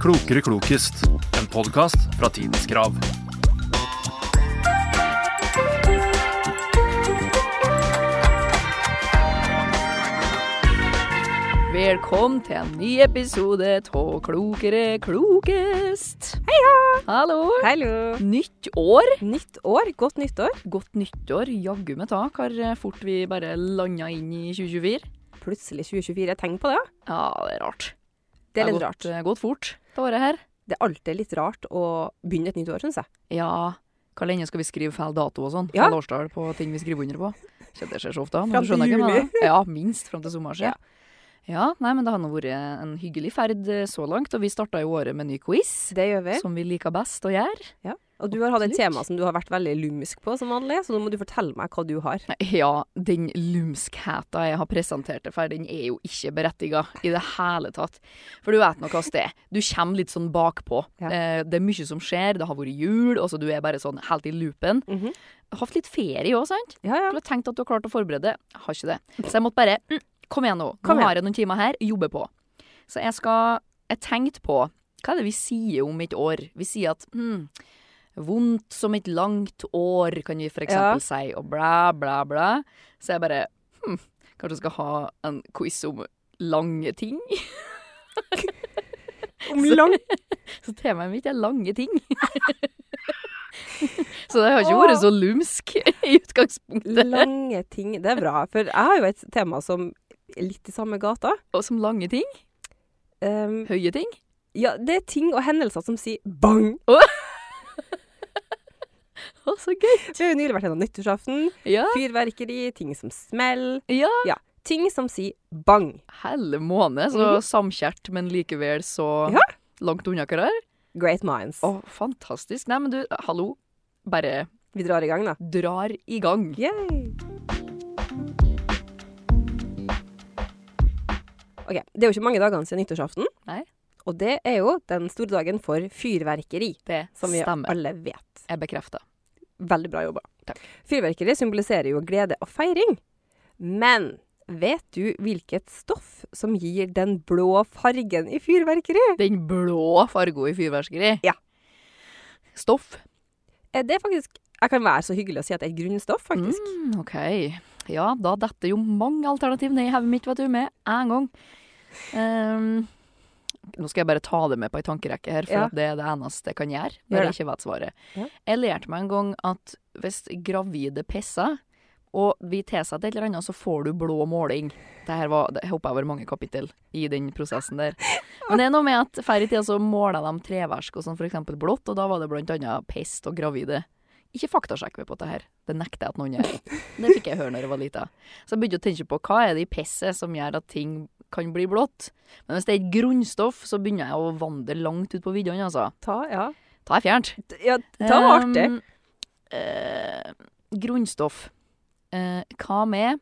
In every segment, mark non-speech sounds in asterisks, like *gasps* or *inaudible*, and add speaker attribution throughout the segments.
Speaker 1: Klokere klokest, en podkast fra Tidens Krav.
Speaker 2: Velkommen til en ny episode av Klokere klokest. Heia! Hallo.
Speaker 3: Hallo!
Speaker 2: Nytt år.
Speaker 3: Nytt år, godt nyttår.
Speaker 2: Godt nyttår. Jaggu meg tak har eh, fort vi bare landa inn i 2024.
Speaker 3: Plutselig 2024, tegn på det. ja.
Speaker 2: Ja, det er rart.
Speaker 3: Det er litt
Speaker 2: gått,
Speaker 3: rart.
Speaker 2: eh, gått fort det året her.
Speaker 3: Det er alltid litt rart å begynne et nytt år, syns jeg.
Speaker 2: Ja, hvor lenge skal vi skrive feil dato og sånn?
Speaker 3: Ja.
Speaker 2: Feil årstall på ting vi skriver under på. Ikke at det skjer så ofte, men
Speaker 3: Fram
Speaker 2: du skjønner
Speaker 3: til
Speaker 2: ikke hva det er. Ja, minst fram til sommeren. Ja. ja, nei, men det har nå vært en hyggelig ferd eh, så langt, og vi starta jo året med en ny quiz.
Speaker 3: Det gjør vi.
Speaker 2: Som vi liker best å gjøre.
Speaker 3: Ja. Og du har hatt et
Speaker 2: absolutt.
Speaker 3: tema som du har vært veldig lumsk på som vanlig, så nå må du fortelle meg hva du har.
Speaker 2: *laughs* Ja, den lumskheten jeg har presentert det for, den er jo ikke berettiga i det hele tatt. For du vet nå hva det er. Du kommer litt sånn bakpå.
Speaker 3: Ja.
Speaker 2: Eh, Det er mye som skjer, det har vært jul, altså du er bare sånn helt i loopen.
Speaker 3: Mhm.
Speaker 2: Hatt litt ferie òg, sant?
Speaker 3: Ja, ja.
Speaker 2: Du har tenkt at du har klart å forberede. Jeg har ikke det. Så jeg måtte bare mm, Kom igjen nå. Nå
Speaker 3: Kom igjen.
Speaker 2: har jeg noen timer her. Jobbe på. Så jeg skal Jeg tenkte på Hva er det vi sier om et år? Vi sier at hm, Vondt som et langt år, kan vi for
Speaker 3: Ja.
Speaker 2: eksempel si, og bla, bla, bla. Så jeg bare hm, Kanskje jeg skal ha en quiz om lange ting?
Speaker 3: Om *laughs* lang
Speaker 2: *laughs* Så temaet mitt er lange ting. *laughs* så det har ikke vært så lumsk i utgangspunktet.
Speaker 3: Lange ting. Det er bra. For jeg har jo et tema som er litt i samme gata.
Speaker 2: Og som lange ting,
Speaker 3: Um,
Speaker 2: høye ting,
Speaker 3: ja, det er ting og hendelser som sier bang.
Speaker 2: å, så gøy.
Speaker 3: Vi har jo nylig vært gjennom nyttårsaften.
Speaker 2: Ja.
Speaker 3: Fyrverkeri, ting som smeller.
Speaker 2: Ja.
Speaker 3: Ting som sier bang.
Speaker 2: Helle måne, så
Speaker 3: Mhm.
Speaker 2: samkjært, men likevel så
Speaker 3: Ja.
Speaker 2: langt unna hverandre.
Speaker 3: Great minds.
Speaker 2: Å, fantastisk. Nei, men du, hallo. Bare
Speaker 3: Vi drar i gang, da.
Speaker 2: drar i gang.
Speaker 3: Yay! Ok, Det er jo ikke mange dagene siden nyttårsaften.
Speaker 2: Nei.
Speaker 3: Og det er jo den store dagen for fyrverkeri,
Speaker 2: Det
Speaker 3: som vi
Speaker 2: stemmer.
Speaker 3: alle vet.
Speaker 2: Jeg bekrefter.
Speaker 3: Veldig bra jobba.
Speaker 2: Takk.
Speaker 3: Fyrverkeri symboliserer jo glede og feiring. Men vet du hvilket stoff som gir den blå fargen i fyrverkeri?
Speaker 2: Den blå fargo i fyrverkeri.
Speaker 3: Ja.
Speaker 2: Stoff.
Speaker 3: Er det faktisk Jeg kan være så hyggelig å si at det er et grunnstoff, faktisk.
Speaker 2: Mm, OK. Ja, da detter jo mange alternativ ned i hodet mitt, vet du, med en gang. Ehm, nå skal jeg bare ta det med på ei tankerekke her, for
Speaker 3: Ja.
Speaker 2: at det er det eneste jeg kan gjøre
Speaker 3: Gjør
Speaker 2: når jeg
Speaker 3: det.
Speaker 2: ikke vet svaret.
Speaker 3: Ja.
Speaker 2: Jeg lærte meg en gang at hvis gravide pisser, og vi tilsetter et eller annet, så får du blå måling. Det her var, det hoppa over mange kapittel i den prosessen der. Men det er noe med at før i tida så måla de treverk og sånn, for eksempel blått, og da var det blant annet pest og gravide. Ikke faktasjekk meg på det her. Det nekter jeg at noen gjør. Det fikk jeg høre når jeg var lita. Så jeg begynte å tenke på hva er det i pisset som gjør at ting kan bli blått. Men hvis det er et grunnstoff, så begynner jeg å vandre langt ut på viddene, altså.
Speaker 3: Ta, ja.
Speaker 2: Ta er fjernt.
Speaker 3: D- ja. Ta var artig.
Speaker 2: Um, eh, grunnstoff. Eh, hva med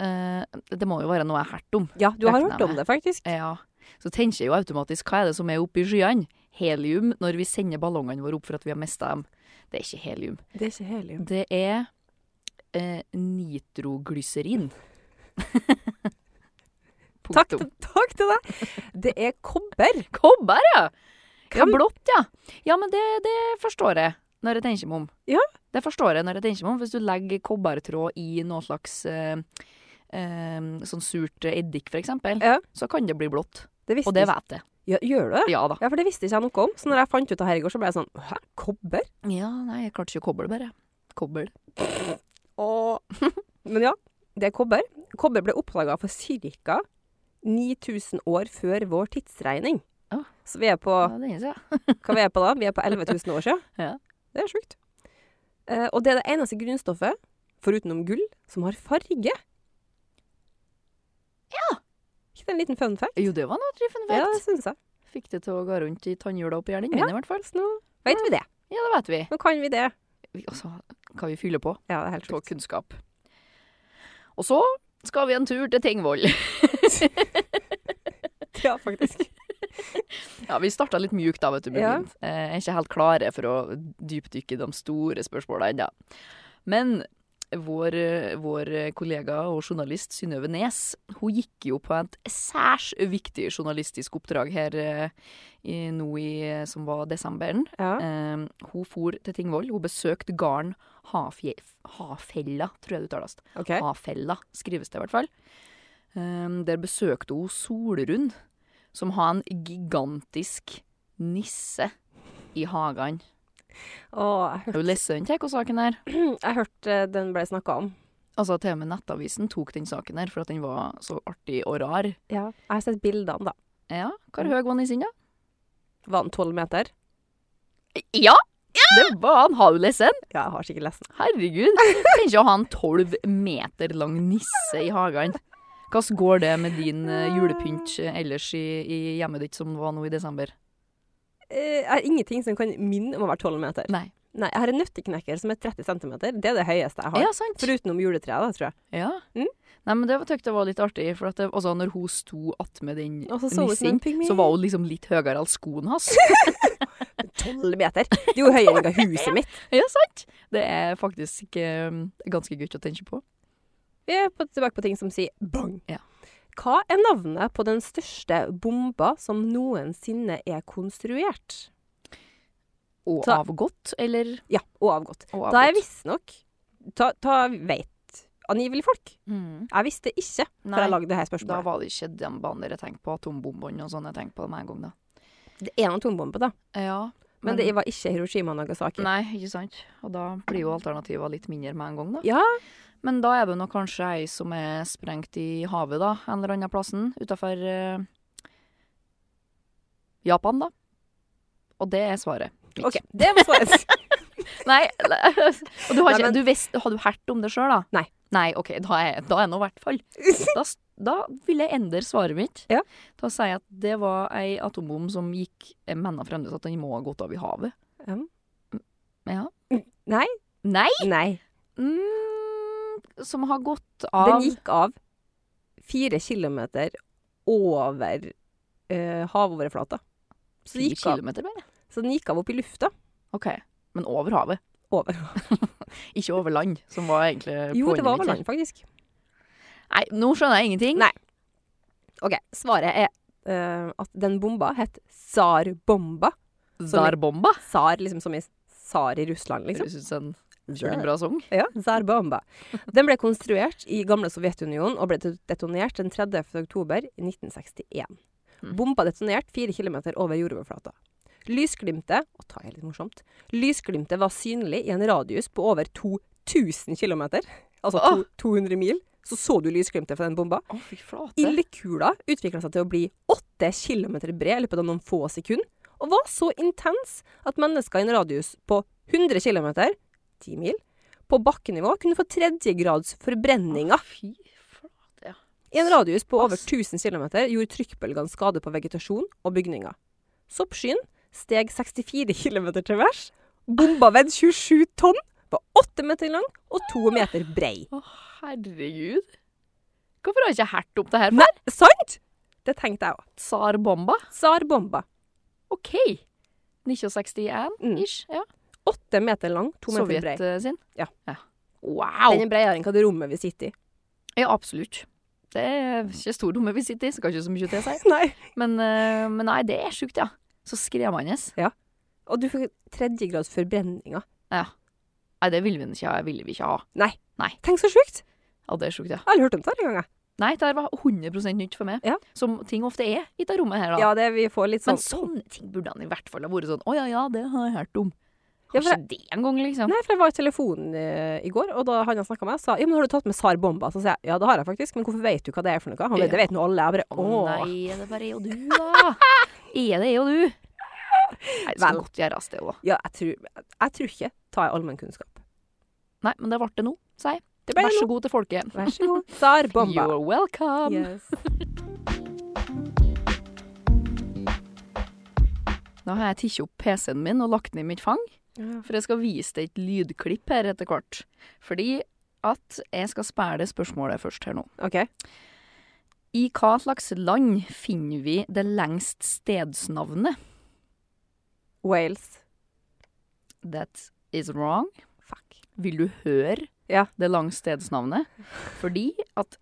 Speaker 2: eh, Det må jo være noe jeg har hørt om.
Speaker 3: Ja, du har
Speaker 2: regner
Speaker 3: hørt om
Speaker 2: med.
Speaker 3: det, faktisk.
Speaker 2: Ja. Så tenker jeg jo automatisk hva er det som er oppe i skyene? Helium når vi sender ballongene våre opp for at vi har mista dem. Det er ikke helium.
Speaker 3: Det er ikke helium.
Speaker 2: Det er eh, *laughs* nitroglyserin.
Speaker 3: Takk,
Speaker 2: Punktum.
Speaker 3: til- takk til deg. Det er kobber.
Speaker 2: Kobber, ja! Ja,
Speaker 3: Hvem-
Speaker 2: blått, ja. Ja, men det, det forstår jeg når jeg tenker meg om.
Speaker 3: Ja.
Speaker 2: Det forstår jeg når jeg tenker meg om. Hvis du legger kobbertråd i noe slags eh, eh, sånn surt eddik, for eksempel,
Speaker 3: Ja.
Speaker 2: så kan det bli blått.
Speaker 3: Det visste
Speaker 2: Og det
Speaker 3: ikke-
Speaker 2: vet jeg.
Speaker 3: ja, Gjør du det?
Speaker 2: Ja da.
Speaker 3: Ja, for det visste ikke jeg noe om. Så når jeg fant ut det her i går, så ble jeg sånn Hæ, kobber?
Speaker 2: Ja, nei, jeg klarte ikke å koble, bare. Kobbel. *laughs*
Speaker 3: Og... Men ja, det er kobber. Kobber ble oppdaga for ca. 9000 år før vår tidsregning.
Speaker 2: Å.
Speaker 3: Så vi er på
Speaker 2: Ja, det innser jeg.
Speaker 3: Hva vi er på da? Vi er på 11 000 år siden.
Speaker 2: Ja.
Speaker 3: Det er sjukt. Eh, og det er det eneste grunnstoffet, forutenom gull, som har farge. Ja! Ikke det en liten fun fact?
Speaker 2: Jo, det var noe triffen
Speaker 3: Ja, det
Speaker 2: fett.
Speaker 3: syns jeg.
Speaker 2: Fikk det til å gå rundt i tannhjula oppi hjernen min,
Speaker 3: Ja.
Speaker 2: i hvert fall.
Speaker 3: Så nå vet vi det.
Speaker 2: Ja, det vet vi.
Speaker 3: Nå kan vi det.
Speaker 2: Vi- Altså, hva vi fyller på.
Speaker 3: Ja, det er helt
Speaker 2: på
Speaker 3: sjukt.
Speaker 2: kunnskap. Og så skal vi en tur til Tingvoll.
Speaker 3: Ja, faktisk.
Speaker 2: Ja, vi starta litt mjukt da, vet du,
Speaker 3: Ja.
Speaker 2: Benjamin. Eh, Jeg er ikke helt klare for å dypdykke de store spørsmåla ennå. Men vår, eh, vår eh, kollega og journalist Synnøve Nes hun gikk jo på et særs viktig journalistisk oppdrag her eh, i, nå i, som var desemberen.
Speaker 3: *laughs* Ja.
Speaker 2: Eh, hun for til Tingvoll. Hun besøkte gården Hafje- Hafella, tror jeg det uttales.
Speaker 3: OK.
Speaker 2: Hafella skrives det i hvert fall. Eh, der besøkte hun Solrund, som har en gigantisk nisse i hagen.
Speaker 3: Å, jeg
Speaker 2: Har
Speaker 3: hørte,
Speaker 2: du lest den, Teko, saken her?
Speaker 3: *clears throat* jeg hørte eh, den ble snakka om.
Speaker 2: Altså, til og med Nettavisen tok den saken her, for at den var så artig og rar.
Speaker 3: Ja. Jeg har sett bildene, da.
Speaker 2: Ja, hvor høy var nissen, da?
Speaker 3: Var den tolv meter?
Speaker 2: Ja! Det var han. Har du lest den?
Speaker 3: Ja, jeg har sikkert lest den.
Speaker 2: Herregud. Tenk ikke å ha en tolv meter lang nisse i hagen. Hvordan går det med din eh, julepynt eh, ellers i, i hjemmet ditt, som var nå i desember?
Speaker 3: Eh, Jeg har ingenting som kan minne om å være tolv meter.
Speaker 2: Nei.
Speaker 3: Nei, jeg har en nøtteknekker som er 30 cm. Det er det høyeste jeg har.
Speaker 2: Ja, sant.
Speaker 3: Forutenom juletreet, da, tror jeg.
Speaker 2: Ja.
Speaker 3: Mm.
Speaker 2: Nei, men det var tøkt det var litt artig, for at det, altså, når hun sto attmed den
Speaker 3: Og så så hun ut som en
Speaker 2: nissen,
Speaker 3: pygmy.
Speaker 2: så var hun liksom litt høyere enn skoen
Speaker 3: *laughs*
Speaker 2: hans.
Speaker 3: Tolv meter! Det er jo høyere enn huset *laughs* mitt.
Speaker 2: ja, sant? Det er faktisk eh, ganske godt å tenke på.
Speaker 3: Vi er på, tilbake på ting som sier bang.
Speaker 2: Ja.
Speaker 3: Hva er navnet på den største bomba som noensinne er konstruert?
Speaker 2: Og
Speaker 3: Så-
Speaker 2: avgått, eller?
Speaker 3: Ja, og avgått.
Speaker 2: Og
Speaker 3: Da jeg visstnok Ta, ta veit angivelig folk.
Speaker 2: Mm.
Speaker 3: Jeg visste ikke før
Speaker 2: Nei,
Speaker 3: jeg lagde det her
Speaker 2: da
Speaker 3: spørsmålet.
Speaker 2: var det ikke den banen jeg tenkte på, atombombene og sånn jeg tenkte på med en gang, da.
Speaker 3: Det er en atombombe, da.
Speaker 2: Ja,
Speaker 3: Men, det var ikke Hiroshima og Nagasaki.
Speaker 2: Nei, ikke sant. Og da blir jo alternativene litt mindre med en gang, da.
Speaker 3: Ja.
Speaker 2: Men da er det nok kanskje ei som er sprengt i havet, da, en eller annen plassen, utafor eh, Japan, da. Og det er svaret. mitt.
Speaker 3: OK. *laughs* Det må svares.
Speaker 2: *laughs* Nei, og du har
Speaker 3: Nei,
Speaker 2: ikke
Speaker 3: men-
Speaker 2: du visst, Har du hørt om det sjøl, da?
Speaker 3: Nei.
Speaker 2: Nei, OK, da er, da er nå i hvert fall da, s- da vil jeg endre svaret mitt.
Speaker 3: Ja.
Speaker 2: Da sier jeg at det var ei atombom som gikk Jeg mener fremdeles at den må ha gått av i havet.
Speaker 3: Ja.
Speaker 2: Ja.
Speaker 3: Nei.
Speaker 2: Nei!
Speaker 3: *laughs* Nei.
Speaker 2: Mm, som har gått av
Speaker 3: Den gikk av fire kilometer over eh, havoverflata. Så, den
Speaker 2: ti
Speaker 3: gikk av-
Speaker 2: kilometer, bare.
Speaker 3: så den gikk av opp i lufta.
Speaker 2: OK. Men over havet.
Speaker 3: Over.
Speaker 2: Ikke over land, som var egentlig
Speaker 3: Jo, det
Speaker 2: poenget
Speaker 3: var
Speaker 2: mitt
Speaker 3: over
Speaker 2: her.
Speaker 3: land, faktisk.
Speaker 2: Nei, nå skjønner jeg ingenting.
Speaker 3: Nei. OK, svaret er eh, at den bomba het Tsar-bomba.
Speaker 2: Zarbomba.
Speaker 3: Tsar liksom som i tsar i Russland, liksom.
Speaker 2: Høres ut som en kjølig bra sang.
Speaker 3: *laughs* Ja, Tsar-bomba. Den ble konstruert i gamle Sovjetunionen og ble det- detonert den 30. oktober i 1961.
Speaker 2: Mm.
Speaker 3: Bomba detonert fire kilometer over jordoverflata. Lysglimtet og ta er litt morsomt, lysglimtet var synlig i en radius på over 2000 km, altså to, 200 mil. Så så du lysglimtet fra den bomba.
Speaker 2: Å, fy flate.
Speaker 3: Ildkula utvikla seg til å bli åtte kilometer bred i løpet av noen få sekunder, og var så intens at mennesker i en radius på 100 km, 10 mil, på bakkenivå kunne få tredjegrads forbrenninger.
Speaker 2: Fy flate, ja.
Speaker 3: I en radius på over
Speaker 2: Ass.
Speaker 3: 1000 km gjorde trykkbølgene skade på vegetasjon og bygninger. Soppskyen steg 64 km til værs, bomba veide 27 tonn, var 8 meter lang og 2 meter brei.
Speaker 2: Å, herregud. Hvorfor har jeg ikke hørt om det her?
Speaker 3: Nei, sant? Det tenkte jeg òg.
Speaker 2: Tsarbomba?
Speaker 3: Tsar-bomba.
Speaker 2: OK. 1961-ish. Ja.
Speaker 3: Åtte meter lang, Mm. to meter
Speaker 2: Sovjet
Speaker 3: brei.
Speaker 2: eh, sin?
Speaker 3: Ja.
Speaker 2: Wow!
Speaker 3: Den er bredere enn hva det rommet vi sitter i.
Speaker 2: Ja, absolutt. Det er ikke stor dumme vi sitter i, skal ikke så mye til seg.
Speaker 3: Nei.
Speaker 2: Men, eh, men nei, det er sjukt, ja. Så skremmende.
Speaker 3: Og du fikk tredjegrads forbrenninger.
Speaker 2: Nei, det ville vi ikke ha. Ville vi ikke ha.
Speaker 3: Tenk så sjukt!
Speaker 2: Ja, det er sjukt, ja.
Speaker 3: Jeg har aldri hørt om det her engang. jeg.
Speaker 2: Nei, det her var 100 nytt for meg.
Speaker 3: Ja.
Speaker 2: Som ting ofte er i det rommet her, da.
Speaker 3: Ja, det vi får litt sånn
Speaker 2: Men sånne ting burde han i hvert fall ha vært sånn Å ja, ja, det har jeg hørt om.
Speaker 3: Ja,
Speaker 2: Har
Speaker 3: for-
Speaker 2: ikke det engang, liksom.
Speaker 3: Nei, for jeg var i telefonen eh, i går, og da han jeg snakka med, sa ja, men har du tatt med SAR Bomba? Så sier jeg ja, det har jeg faktisk, men hvorfor vet du hva det er for noe? Han
Speaker 2: Ja.
Speaker 3: vet, det vet nå alle. Jeg bare
Speaker 2: Å
Speaker 3: åh.
Speaker 2: nei, er det bare jeg og du, da? Er det jeg og du? Nei, det skal
Speaker 3: Vel.
Speaker 2: godt gjøres, det òg.
Speaker 3: Ja, jeg tror, jeg tror ikke tar jeg allmennkunnskap.
Speaker 2: Nei, men det ble det nå, sier jeg.
Speaker 3: Det ble
Speaker 2: Vær
Speaker 3: det
Speaker 2: så god til folket.
Speaker 3: Vær så god. SAR Bomba.
Speaker 2: You're welcome.
Speaker 3: Yes.
Speaker 2: Da har jeg tatt opp PC-en min og lagt den i mitt fang,
Speaker 3: Ja.
Speaker 2: for jeg skal vise deg et lydklipp her etter hvert. Fordi at jeg skal spille det spørsmålet først her nå.
Speaker 3: OK.
Speaker 2: I hva slags land finner vi det lengst stedsnavnet?
Speaker 3: Wales.
Speaker 2: That is wrong.
Speaker 3: Fuck.
Speaker 2: Vil du høre
Speaker 3: Ja.
Speaker 2: det langs stedsnavnet? Fordi at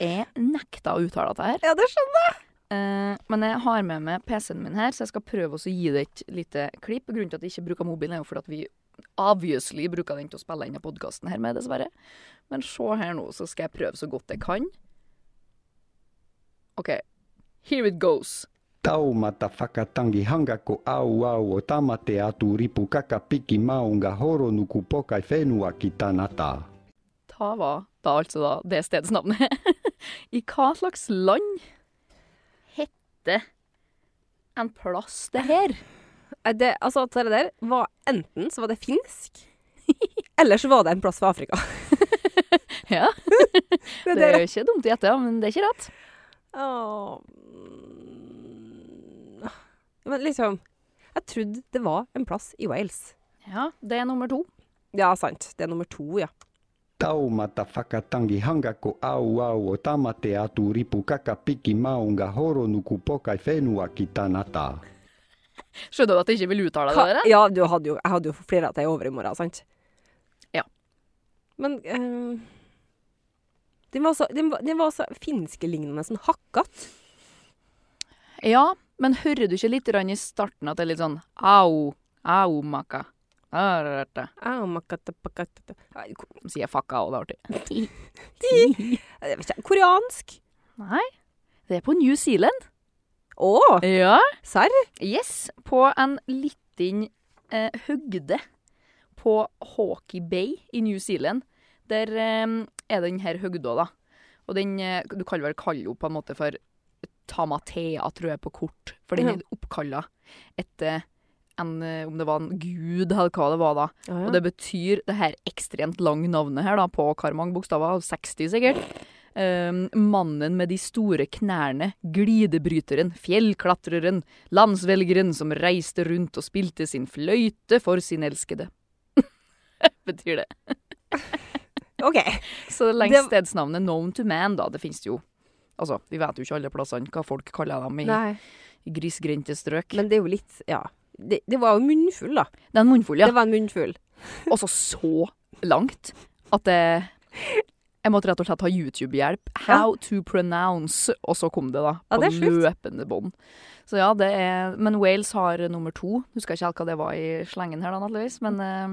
Speaker 2: jeg nekta å uttale dette her.
Speaker 3: Ja, det skjønner
Speaker 2: Eh, men jeg har med meg PC-en min her, så jeg skal prøve også å gi det et lite klipp. Grunnen til at jeg ikke bruker mobilen, er jo fordi at vi obviously bruker den til å spille inn podkasten her med, dessverre. Men se her nå, så skal jeg prøve så godt jeg kan. OK. Here it goes.
Speaker 4: Tau matafakatangi hanga ko au au o tamate atu ripu kaka piki maunga horo nuku pokai whenua ki tanata.
Speaker 2: Ta var da altså da det stedsnavnet. *laughs* I hva slags land heter en plass det her?
Speaker 3: Nei, Det, altså, alt det der var enten så var det finsk, *laughs* eller så var det en plass fra Afrika.
Speaker 2: *laughs* Ja,
Speaker 3: *laughs* Det
Speaker 2: *laughs* det er
Speaker 3: der.
Speaker 2: jo ikke dumt å gjette, ja, men det er ikke rett.
Speaker 3: Åh, mm. Men liksom Jeg trodde det var en plass i Wales.
Speaker 2: Ja, det er nummer to.
Speaker 3: Ja, sant. Det er nummer to, ja.
Speaker 4: Tau matafakatangi hanga ko au au o tamate atu ripu kaka piki maunga horo nuku pokai whenua ki tanata.
Speaker 2: Skjønner du at jeg ikke vil uttale
Speaker 3: Hva-
Speaker 2: det der?
Speaker 3: ja du hadde jo, jeg hadde jo flere at jeg er over i morgen, sant?
Speaker 2: Ja.
Speaker 3: Men eh, den var så, den var, den var så finskelignende, sånn hakkete.
Speaker 2: Ja, men hører du ikke litt grann i starten at det er litt sånn au, au, maka. Arrata.
Speaker 3: Au, makatapakatata. Nei, ko-
Speaker 2: De sier fucka òg, det er artig.
Speaker 3: Jeg vet ikke, koreansk.
Speaker 2: Nei, det er på New Zealand.
Speaker 3: Å,
Speaker 2: Ja.
Speaker 3: serr?
Speaker 2: Yes, på en liten eh, høgde på Hawkey Bay i New Zealand. Der eh, er den her høgda, da. Og den eh, Du kan vel kalle henne på en måte for Tamatea, tror jeg, på kort. For den
Speaker 3: Ja.
Speaker 2: er oppkalla etter en eh, Om det var en gud, eller hva det var da. Og det betyr det her ekstremt lange navnet her, da, på hvor mange bokstaver? 60 sikkert. Ehm, mannen med de store knærne, glidebryteren, fjellklatreren, landsvelgeren som reiste rundt og spilte sin fløyte for sin elskede. *laughs* betyr det.
Speaker 3: OK.
Speaker 2: Så
Speaker 3: Det-
Speaker 2: lengst stedsnavnet known to man, da, det finnes jo. Altså, vi vet jo ikke alle plassene hva folk kaller dem i,
Speaker 3: Nei.
Speaker 2: i grisgrendte strøk.
Speaker 3: Men det er jo litt Ja. Det, det var jo munnfull, da.
Speaker 2: Det er en munnfull, ja.
Speaker 3: Det var en munnfull.
Speaker 2: *laughs* Altså så langt at det jeg måtte rett og slett ha YouTube-hjelp. How to pronounce. Og så kom det, da.
Speaker 3: Ja,
Speaker 2: På
Speaker 3: det er sjukt.
Speaker 2: løpende bånd. Så ja, det er Men Wales har nummer to. Husker ikke helt hva det var i slengen her, da, naturligvis. Men eh,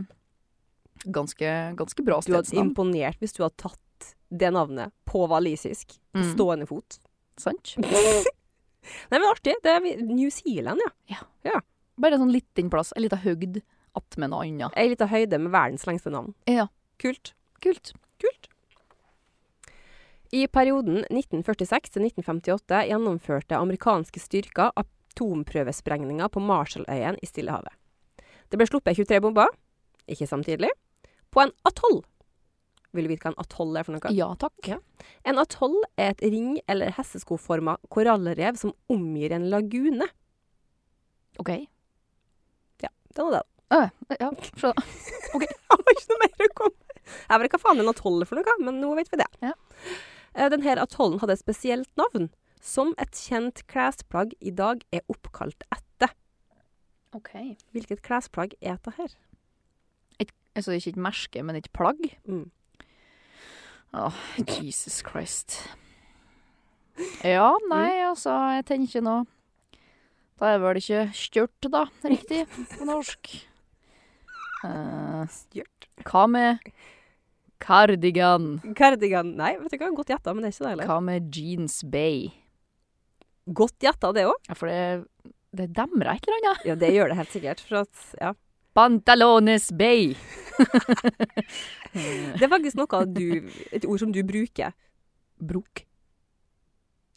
Speaker 2: ganske, ganske bra
Speaker 3: Du hadde
Speaker 2: stedsnavn.
Speaker 3: imponert hvis du hadde tatt det navnet på walisisk. på
Speaker 2: Mm.
Speaker 3: Stående fot. *laughs*
Speaker 2: Sant?
Speaker 3: Nei, men artig. Det er vi- New Zealand, ja.
Speaker 2: Bare en sånn liten plass. En lita høgd attmed noe annet.
Speaker 3: Ei lita høyde med verdens lengste navn.
Speaker 2: Ja.
Speaker 3: Kult.
Speaker 2: Kult.
Speaker 3: Kult. I perioden 1946 til 1958 gjennomførte amerikanske styrker atomprøvesprengninger på Marshalløyen i Stillehavet. Det ble sluppet 23 bomber, ikke samtidig, på en atoll. Vil du vite hva en atoll er for noe?
Speaker 2: Ja takk.
Speaker 3: En atoll er et ring- eller hesseskoforma korallrev som omgir en lagune.
Speaker 2: OK.
Speaker 3: Den er det.
Speaker 2: Øh, ja, skjønner.
Speaker 3: *laughs* Jeg har ikke noe mer å komme med. Jeg vet ikke hva faen en atoll er for noe, men nå vet vi det.
Speaker 2: Ja.
Speaker 3: Eh, Den her atollen hadde et spesielt navn, som et kjent klesplagg i dag er oppkalt etter.
Speaker 2: OK.
Speaker 3: Hvilket klesplagg er dette her?
Speaker 2: Altså det er ikke et merke, men et plagg.
Speaker 3: Mm.
Speaker 2: Åh, Jesus Christ. Ja, nei, altså, jeg tenker nå Da er vel ikke stjørt, da, riktig, på norsk. Eh,
Speaker 3: Stjørt.
Speaker 2: hva med kardigan?
Speaker 3: Kardigan. Nei, vet du hva, godt gjetta, men det er ikke det heller.
Speaker 2: Hva med jeans bay?
Speaker 3: Godt gjetta, det òg.
Speaker 2: Ja, for det, det demrer et eller annet.
Speaker 3: Ja, det gjør det helt sikkert. For at, ja.
Speaker 2: Pantalones bay! Eh,
Speaker 3: Det er faktisk noe du Et ord som du bruker.
Speaker 2: Brok.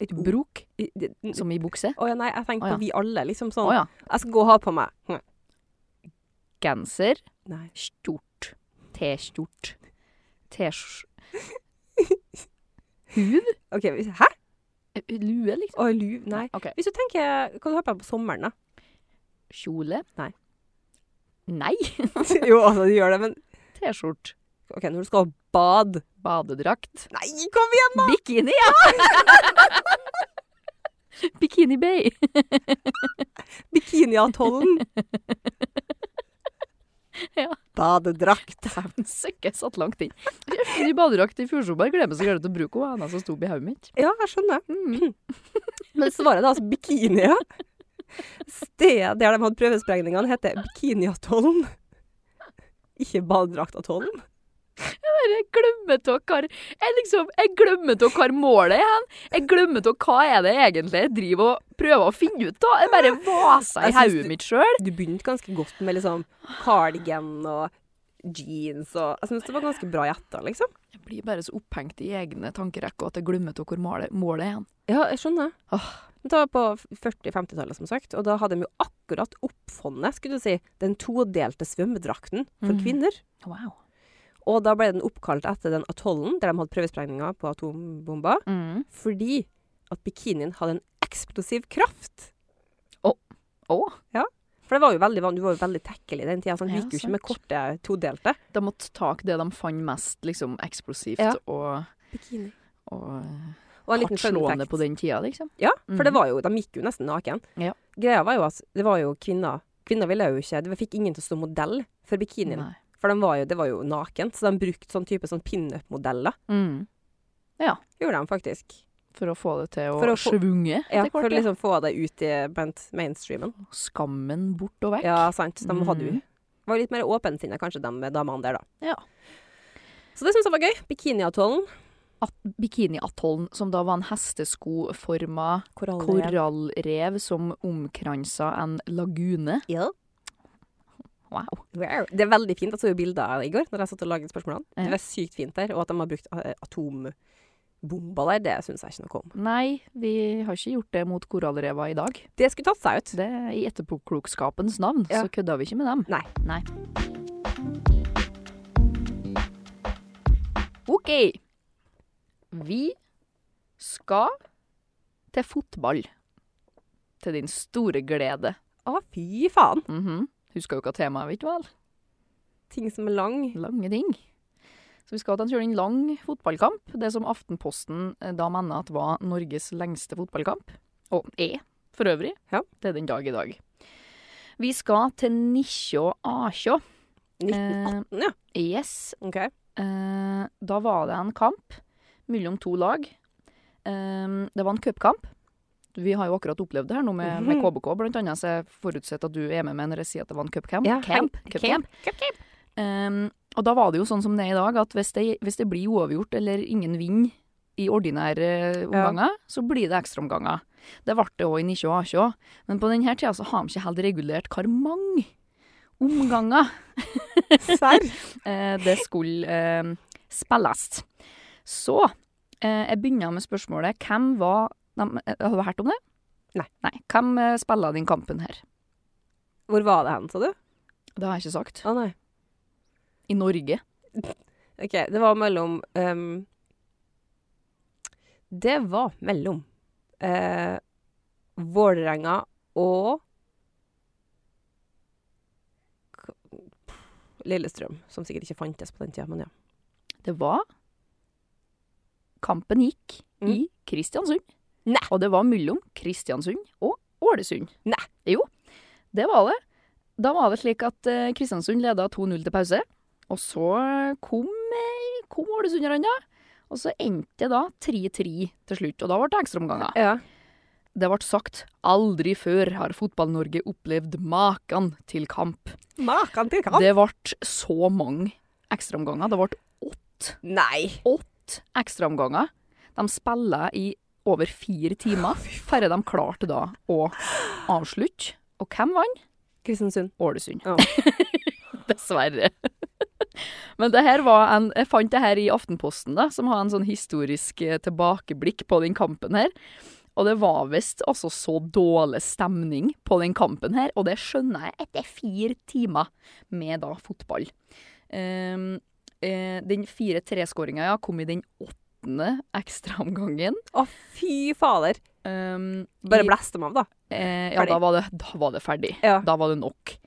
Speaker 3: Et ord
Speaker 2: Brok,
Speaker 3: i- det-
Speaker 2: som i bukse.
Speaker 3: Å ja, nei, jeg tenker
Speaker 2: Å ja.
Speaker 3: på vi alle, liksom
Speaker 2: Å
Speaker 3: sånn.
Speaker 2: ja.
Speaker 3: Jeg skal gå og ha på meg. Hm.
Speaker 2: Genser.
Speaker 3: Nei.
Speaker 2: Stort. T-stort. T-skj... Hud?
Speaker 3: OK, hvis, hæ?
Speaker 2: Lue, liksom?
Speaker 3: Å, lu... Nei.
Speaker 2: OK.
Speaker 3: Hvis du tenker Hva du har på deg på sommeren, da? *laughs*
Speaker 2: Kjole?
Speaker 3: Nei.
Speaker 2: Nei.
Speaker 3: jo, altså, du gjør det, men
Speaker 2: T-skjort.
Speaker 3: OK, når du skal ha bad
Speaker 2: Badedrakt.
Speaker 3: Nei, kom igjen!
Speaker 2: Bikini, ja! *laughs* Bikini Bay.
Speaker 3: Bikiniatollen.
Speaker 2: Ja.
Speaker 3: badedrakt.
Speaker 2: Dæven søkke, jeg satt langt inn. I badedrakt i fjordsommer glemmer jeg så gjerne til å bruke henne, henne som sto i hodet mitt.
Speaker 3: Ja, jeg skjønner.
Speaker 2: Mm.
Speaker 3: Men svaret er altså bikinier. Stedet der de hadde prøvesprengningene, heter Bikiniatollen. Ikke Badedraktatollen.
Speaker 2: Jeg glemmer til hva jeg, liksom, jeg glemmer til hva målet er hen. Jeg glemmer til hva er det egentlig jeg driver og prøver å finne ut av. Jeg bare vaser
Speaker 3: Jeg
Speaker 2: i
Speaker 3: synes
Speaker 2: hodet
Speaker 3: du-
Speaker 2: mitt sjøl.
Speaker 3: Du begynte ganske godt med liksom cardigan og jeans og Jeg syns det var ganske bra gjetta, liksom.
Speaker 2: Jeg blir bare så opphengt i egne tankerekker at jeg glemmer til hvor målet, målet er hen.
Speaker 3: Ja, jeg skjønner.
Speaker 2: Åh.
Speaker 3: Det var på 40-50-tallet, som sagt, og da hadde de jo akkurat oppfunnet, skulle du si, den todelte svømmedrakten for
Speaker 2: Mhm.
Speaker 3: kvinner.
Speaker 2: Wow.
Speaker 3: Og da ble den oppkalt etter den atollen der de hadde prøvesprengninger på atombomber.
Speaker 2: Mm.
Speaker 3: fordi at bikinien hadde en eksplosiv kraft.
Speaker 2: Å,
Speaker 3: For det var jo veldig vanlig, du var jo veldig tekkelig i den tida. Sånn. Du
Speaker 2: Ja,
Speaker 3: gikk jo ikke
Speaker 2: sant.
Speaker 3: med korte todelte.
Speaker 2: de måtte ta det de fant mest liksom, eksplosivt
Speaker 3: Ja.
Speaker 2: og,
Speaker 3: Bikini.
Speaker 2: og
Speaker 3: Og en liten fun
Speaker 2: hardtslående
Speaker 3: fact.
Speaker 2: på den tida, liksom.
Speaker 3: Ja, for det
Speaker 2: Mhm.
Speaker 3: var jo, de gikk jo nesten naken.
Speaker 2: Ja.
Speaker 3: Greia var jo at det var jo kvinner Kvinner ville jo ikke De fikk ingen til å stå modell for bikinien.
Speaker 2: Nei.
Speaker 3: For de var jo, det var jo naken, så de brukte sånn type sånn pinup-modeller.
Speaker 2: Mm.
Speaker 3: Gjorde de faktisk.
Speaker 2: For å få det til å,
Speaker 3: For å få-
Speaker 2: svunge
Speaker 3: Ja,
Speaker 2: etter
Speaker 3: for å
Speaker 2: hvert.
Speaker 3: liksom få det ut i blant mainstreamen.
Speaker 2: ja. Skammen bort og vekk.
Speaker 3: Ja, sant. De hadde jo
Speaker 2: Mhm.
Speaker 3: Var litt mer åpensinna kanskje, de damene der, da.
Speaker 2: Ja.
Speaker 3: Så det syns jeg var gøy. Bikiniatollen.
Speaker 2: At- Bikiniatollen, som da var en hesteskoforma korallrev som omkransa en lagune.
Speaker 3: Ja.
Speaker 2: Wow.
Speaker 3: Det er veldig fint. Jeg så jo bilder av det i går når jeg satt og laget spørsmålene.
Speaker 2: Ja.
Speaker 3: Det var sykt fint der. Og at de har brukt eh, atombomber der, det syns jeg ikke noe om.
Speaker 2: Nei, vi har ikke gjort det mot korallreva i dag.
Speaker 3: Det skulle tatt seg ut.
Speaker 2: Det er I etterpåklokskapens navn,
Speaker 3: Ja.
Speaker 2: så kødda vi ikke med dem.
Speaker 3: Nei.
Speaker 2: Nei. OK. Vi skal til fotball. Til din store glede.
Speaker 3: Å, fy faen.
Speaker 2: Mhm. Husker jo hva temaet mitt var?
Speaker 3: Ting som er lang.
Speaker 2: Lange ting. Så vi skal ta en kjøring lang fotballkamp. Det som Aftenposten eh, da mener at var Norges lengste fotballkamp. Og er, for øvrig.
Speaker 3: Ja.
Speaker 2: Det er den dag i dag. Vi skal til Nisjå Asjå. Eh.
Speaker 3: 1918, ja.
Speaker 2: Yes.
Speaker 3: OK.
Speaker 2: Eh, da var det en kamp mellom to lag. Eh, det var en cupkamp. Vi har jo akkurat opplevd det her nå med, med
Speaker 3: Mhm.
Speaker 2: KBK, blant annet. Så jeg forutsetter at du er med meg når jeg sier at det var en cupcamp.
Speaker 3: Ja,
Speaker 2: Camp.
Speaker 3: hei.
Speaker 2: Cupcamp. Um, og da var det jo sånn som det er i dag, at hvis det, hvis det blir uavgjort eller ingen vinner i ordinære omganger, så blir det ekstraomganger. Det ble det òg i Nisjå og Asjå, men på denne tida så har de ikke helt regulert hvor mange omganger
Speaker 3: Serr?
Speaker 2: eh, det skulle eh, spilles. Så eh, jeg begynner med spørsmålet Hvem var de, eh, Har du hørt om det?
Speaker 3: Nei.
Speaker 2: Nei. Hvem eh, spilla den kampen her?
Speaker 3: Hvor var det hen, sa du?
Speaker 2: Det har jeg ikke sagt.
Speaker 3: Å nei.
Speaker 2: I Norge.
Speaker 3: OK, det var mellom ehm, Det var mellom eh, Vålerenga og K- Lillestrøm, som sikkert ikke fantes på den tida, men ja.
Speaker 2: Det var Kampen gikk
Speaker 3: Mm.
Speaker 2: i Kristiansund.
Speaker 3: Nei.
Speaker 2: Og det var mellom Kristiansund og Ålesund.
Speaker 3: Nei.
Speaker 2: Jo, det var det. Da var det slik at eh, Kristiansund leda 2-0 til pause. Og så kom, eh, kom ålesunderne, og så endte det da 3-3 til slutt. Og da ble det ekstraomganger.
Speaker 3: Ja.
Speaker 2: Det ble sagt aldri før har Fotball-Norge opplevd maken til kamp.
Speaker 3: Makan til
Speaker 2: Det ble så mange ekstraomganger. Det ble åtte
Speaker 3: Nei!
Speaker 2: åtte ekstraomganger. De spiller i over fire timer, færre de klarte da å avslutte. Og hvem vant?
Speaker 3: Kristiansund.
Speaker 2: Ålesund.
Speaker 3: Ja.
Speaker 2: *laughs* Dessverre. *laughs* Men det her var en, jeg fant det her i Aftenposten, da, som har en sånn historisk eh, tilbakeblikk på den kampen her. Og det var visst altså så dårlig stemning på den kampen her, og det skjønner jeg etter fire timer med da fotball. Ehm, eh, den 4-3-skåringa ja, kom i den åttende ekstraomgangen.
Speaker 3: Å, fy fader.
Speaker 2: Um,
Speaker 3: Bare
Speaker 2: i-
Speaker 3: blæst dem av, da.
Speaker 2: Eh, ja,
Speaker 3: Ferdig.
Speaker 2: da var, det, da var det ferdig.
Speaker 3: Ja.
Speaker 2: Da var det nok.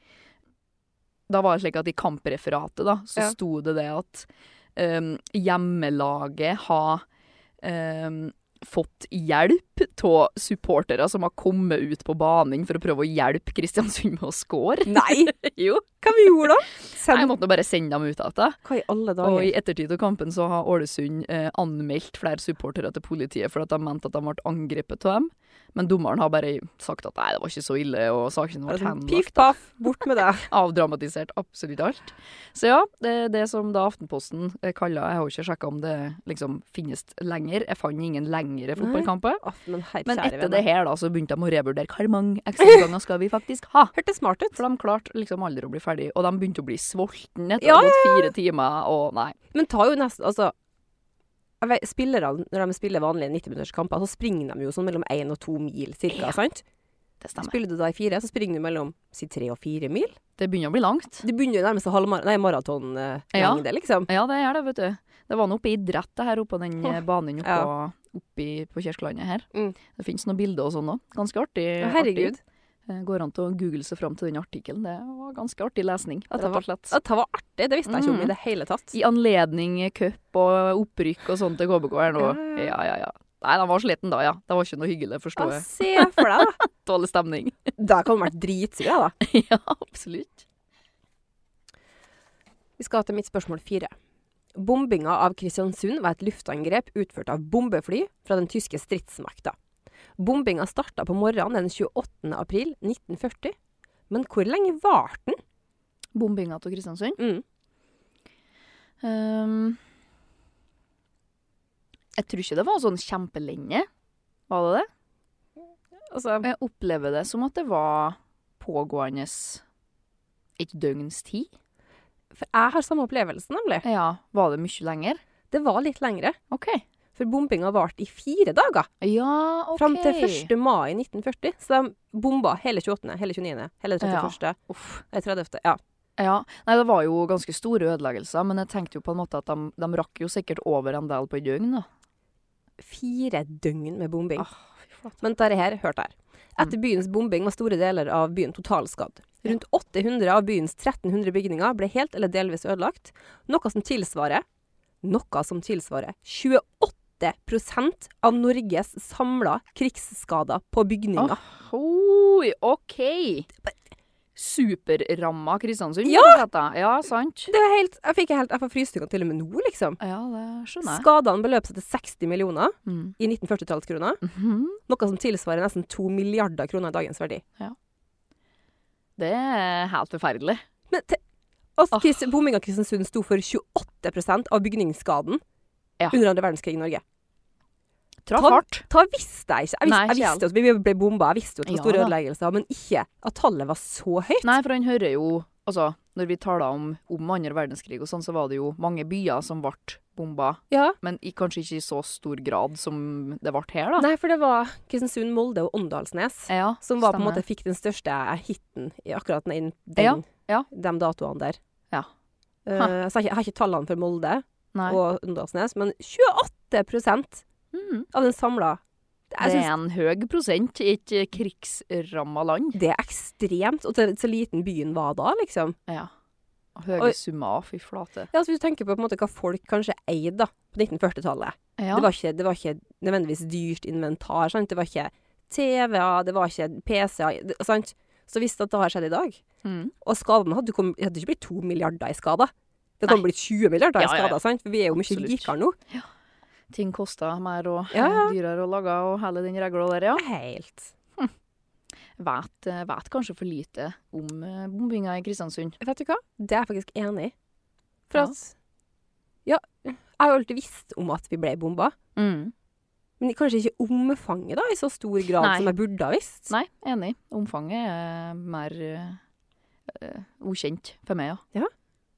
Speaker 2: Da var det slik at i kampreferatet da, så
Speaker 3: Ja.
Speaker 2: sto det det at ehm, em, hjemmelaget har em, ehm, fått hjelp hjelp av supportere som har kommet ut på banen for å prøve å hjelpe Kristiansund med å score.
Speaker 3: Nei!
Speaker 2: *laughs* Jo,
Speaker 3: Hva vi gjorde da?
Speaker 2: jeg
Speaker 3: Send
Speaker 2: måtte nå bare sende dem ut igjen.
Speaker 3: Hva i alle
Speaker 2: Og i
Speaker 3: dager?
Speaker 2: ettertid av kampen så har Ålesund eh, anmeldt flere supportere til politiet for at de mente at de ble angrepet av dem. Men dommeren har bare sagt at nei, det var ikke så ille, og saken
Speaker 3: Bare
Speaker 2: ble
Speaker 3: sånn,
Speaker 2: henlagt.
Speaker 3: Piff paff, bort
Speaker 2: *laughs*
Speaker 3: med deg.
Speaker 2: Avdramatisert absolutt alt. Så ja, det, det som da Aftenposten eh, kaller Jeg har jo ikke sjekka om det liksom finnes lenger. Jeg fant ingen lengre fotballkamper.
Speaker 3: Å, Men, herre
Speaker 2: Men
Speaker 3: kjære
Speaker 2: etter
Speaker 3: vene.
Speaker 2: det her da, så begynte de å revurdere hvor mange ekstraomganger skal vi faktisk ha.
Speaker 3: Hørtes smart ut.
Speaker 2: For de klarte liksom aldri å bli ferdig, og de begynte å bli sultne etter
Speaker 3: Ja,
Speaker 2: å ha gått fire timer, og nei.
Speaker 3: Men tar jo nesten Altså jeg vet, Spillerne, når de spiller vanlige 90-minutterskamper, så springer de jo sånn mellom 1 og 2 mil cirka,
Speaker 2: Ja,
Speaker 3: sant?
Speaker 2: Det stemmer.
Speaker 3: Spiller du da i fire, så springer du mellom si 3 og 4 mil.
Speaker 2: Det begynner å bli langt.
Speaker 3: Det begynner jo nærmest å halvmar nei,
Speaker 2: Ja.
Speaker 3: maratonlengde, liksom.
Speaker 2: Ja, det er det, vet du. Det var noe oppe i idrett, det her oppe på den eh, banen oppe,
Speaker 3: Ja.
Speaker 2: oppi på Kirkelandet her.
Speaker 3: Mm.
Speaker 2: Det finnes noen bilder og sånn òg. Ganske artig.
Speaker 3: Herregud.
Speaker 2: artig. Eh, Går an til å google seg fram til den artikkelen. Det var ganske artig lesning,
Speaker 3: Ja, det
Speaker 2: rett og slett.
Speaker 3: Dette var artig, det visste jeg ikke om
Speaker 2: Mm.
Speaker 3: i det hele tatt.
Speaker 2: I anledning cup og opprykk og sånn til KBK her nå.
Speaker 3: Ja, ja, ja.
Speaker 2: Ja, ja, ja. Nei, de var sliten da, ja. Det var ikke noe hyggelig,
Speaker 3: Ja,
Speaker 2: forstår jeg.
Speaker 3: se for deg, da.
Speaker 2: Dårlig stemning.
Speaker 3: *laughs*
Speaker 2: *laughs*
Speaker 3: Da kan du vært dritsur, jeg, da.
Speaker 2: ja, absolutt.
Speaker 3: Vi skal til mitt spørsmål fire. Bombinga av Kristiansund var et luftangrep utført av bombefly fra den tyske stridsmakta. Bombinga starta på morgenen den 28. april 1940. Men hvor lenge varte den?
Speaker 2: Bombinga til Kristiansund.
Speaker 3: Mm.
Speaker 2: Ehm, jeg tror ikke det var sånn kjempelenge. Var det det?
Speaker 3: Altså,
Speaker 2: Jeg opplever det som at det var pågående et døgns tid.
Speaker 3: for jeg har samme opplevelse, nemlig.
Speaker 2: Ja, var det mye lenger?
Speaker 3: Det var litt lengre,
Speaker 2: OK.
Speaker 3: for bombinga varte i fire dager.
Speaker 2: Ja, OK.
Speaker 3: Fram til 1. mai 1940. Så de bomba hele 28., hele 29., hele 31.,
Speaker 2: Uff.
Speaker 3: nei, 30. Ja.
Speaker 2: Ja. Nei, det var jo ganske store ødeleggelser, men jeg tenkte jo på en måte at de, de rakk jo sikkert over en del på et døgn, da.
Speaker 3: Fire døgn med bombing.
Speaker 2: Ah, fy flate.
Speaker 3: Men dette her, hør der. Etter byens bombing var store deler av byen totalskadd. Rundt 800 av byens 1300 bygninger ble helt eller delvis ødelagt, noe som tilsvarer noe som tilsvarer 28 av Norges samla krigsskader på bygninger.
Speaker 2: Oi, OK! Superramma Kristiansund,
Speaker 3: Ja!
Speaker 2: rett og slett, da. Ja, sant.
Speaker 3: Det er helt, jeg fikk helt, jeg får frysninger til og med nå, liksom.
Speaker 2: Ja, det skjønner jeg.
Speaker 3: Skadene beløp seg til 60 millioner
Speaker 2: Mm.
Speaker 3: i 1940-tallskroner.
Speaker 2: Mhm.
Speaker 3: Noe som tilsvarer nesten to milliarder kroner i dagens verdi.
Speaker 2: Det er helt forferdelig.
Speaker 3: Men te- altså,
Speaker 2: Ah.
Speaker 3: Chris, bombing av Kristiansund sto for 28 av bygningsskaden
Speaker 2: Ja.
Speaker 3: under andre verdenskrig i Norge.
Speaker 2: Traff
Speaker 3: Ta-
Speaker 2: hardt.
Speaker 3: Ta visste jeg ikke. Jeg visste,
Speaker 2: Nei, ikke
Speaker 3: jeg visste at vi ble bomba, jeg visste jo at det var
Speaker 2: Ja
Speaker 3: store
Speaker 2: da.
Speaker 3: ødeleggelser, men ikke at tallet var så høyt.
Speaker 2: Nei, for han hører jo Altså, når vi taler om, om andre verdenskrig og sånn, så var det jo mange byer som ble bomba,
Speaker 3: Ja.
Speaker 2: men i, kanskje ikke i så stor grad som det ble her, da.
Speaker 3: Nei, for det var Kristiansund, Molde og Åndalsnes
Speaker 2: Ja,
Speaker 3: som var på en
Speaker 2: stemmer.
Speaker 3: måte fikk den største hiten i akkurat den, den,
Speaker 2: Ja, ja.
Speaker 3: de datoene der.
Speaker 2: Ja.
Speaker 3: Eh, så jeg, har ikke- jeg har ikke tallene for Molde
Speaker 2: Nei.
Speaker 3: og Åndalsnes, men 28
Speaker 2: Mhm.
Speaker 3: av den samla jeg
Speaker 2: Det
Speaker 3: synes
Speaker 2: er en høy prosent i et krigsramma land.
Speaker 3: Det er ekstremt, og til så liten byen var da, liksom.
Speaker 2: Ja. Høye
Speaker 3: Oi.
Speaker 2: summer, fy flate.
Speaker 3: Ja, altså, hvis du tenker på, på en måte, hva folk kanskje eide da, på 1940-tallet.
Speaker 2: Ja.
Speaker 3: Det, var ikke- det var ikke nødvendigvis dyrt inventar, sant? Det var ikke TV-er, det var ikke PC-er, det- sant? Så hvis det har skjedd i dag,
Speaker 2: Mhm.
Speaker 3: og skadene hadde, kom, hadde ikke blitt 2 milliarder i skader. Det kan
Speaker 2: Nei.
Speaker 3: blitt 20 milliarder i
Speaker 2: Ja, ja, ja.
Speaker 3: skader, sant? For vi er jo mye
Speaker 2: Absolutt.
Speaker 3: rikere nå.
Speaker 2: Ting kosta mer og
Speaker 3: Ja, ja.
Speaker 2: eh, dyrere å lage og hele den regla der, ja.
Speaker 3: Helt.
Speaker 2: Vet, eh, vet kanskje for lite om eh, bombinga i Kristiansund.
Speaker 3: Vet du hva? Det er jeg faktisk enig i. For
Speaker 2: Ja.
Speaker 3: at Ja, jeg har jo alltid visst om at vi ble bomba.
Speaker 2: Mm.
Speaker 3: Men kanskje ikke omfanget da, i så stor grad
Speaker 2: Nei.
Speaker 3: som jeg burde ha visst.
Speaker 2: Nei, enig. Omfanget er mer eh, eh, ukjent for meg, ja.
Speaker 3: Ja.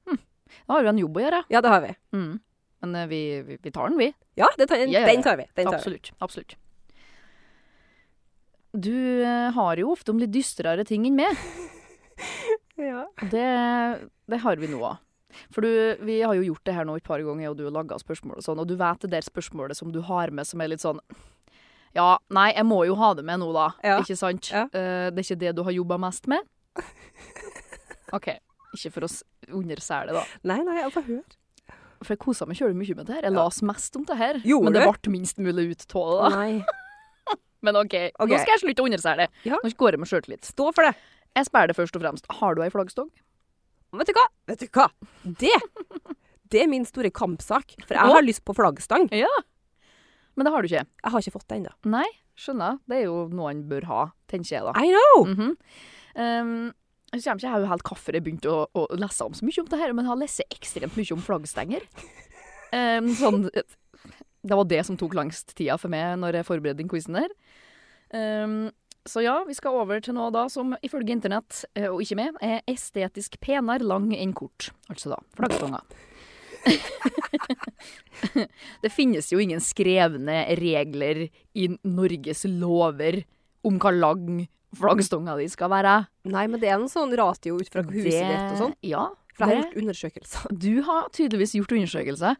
Speaker 2: Hm. Da har vi en jobb å gjøre.
Speaker 3: Ja, det har vi.
Speaker 2: Mm. Men eh, vi, vi, vi tar den, vi.
Speaker 3: Ja, det tar,
Speaker 2: Ja, ja, ja.
Speaker 3: den tar vi. Den tar vi.
Speaker 2: Absolutt. Absolutt. Du eh, har jo ofte om litt dystrere ting enn meg.
Speaker 3: Ja.
Speaker 2: og Det, det har vi nå av. For du, vi har jo gjort det her nå et par ganger, og du har laga spørsmål og sånn, og du vet det der spørsmålet som du har med som er litt sånn Ja, nei, jeg må jo ha det med nå, da.
Speaker 3: Ja.
Speaker 2: Ikke sant?
Speaker 3: Ja.
Speaker 2: Eh, det er ikke det du har jobba mest
Speaker 3: *laughs*
Speaker 2: med? OK. Ikke for å s- undersæle, da.
Speaker 3: Nei, nei, jeg får høre.
Speaker 2: For jeg kosa meg kjølig mye med det her. Jeg
Speaker 3: Ja.
Speaker 2: las mest om det her.
Speaker 3: Gjorde
Speaker 2: men det
Speaker 3: du?
Speaker 2: ble minst mulig ut av det. da.
Speaker 3: Nei.
Speaker 2: Men OK,
Speaker 3: Ok.
Speaker 2: nå skal jeg slutte å undersele det.
Speaker 3: Ja.
Speaker 2: Nå går jeg med sjøltillit.
Speaker 3: Stå for det.
Speaker 2: Jeg spør det først og fremst. Har du ei flaggstong?
Speaker 3: Vet du hva? Vet du hva? Det Det er min store kampsak. For
Speaker 2: Å.
Speaker 3: jeg har lyst på flaggstang.
Speaker 2: Ja. Men det har du ikke.
Speaker 3: Jeg har ikke fått det ennå.
Speaker 2: Nei, skjønner. Det er jo noe han bør ha, tenker jeg da.
Speaker 3: I know!
Speaker 2: Mhm. um, så kommer ikke jeg jo helt hvorfor jeg begynte å, å lese om så mye om det her, men jeg har lest ekstremt mye om flaggstenger. Um, sånn, det var det som tok langst tida for meg når jeg forberedte den quizen der. Um, så ja, vi skal over til noe da som ifølge internett, eh, og ikke meg, er estetisk penere lang enn kort. Altså da, flaggstonger. *laughs* det finnes jo ingen skrevne regler i Norges lover om hva lang flaggstonga di skal være.
Speaker 3: Nei, men det er en sånn ratio ut fra huset ditt og sånn.
Speaker 2: Ja.
Speaker 3: For jeg har
Speaker 2: Det.
Speaker 3: gjort undersøkelser. *laughs*
Speaker 2: Du har tydeligvis gjort undersøkelser.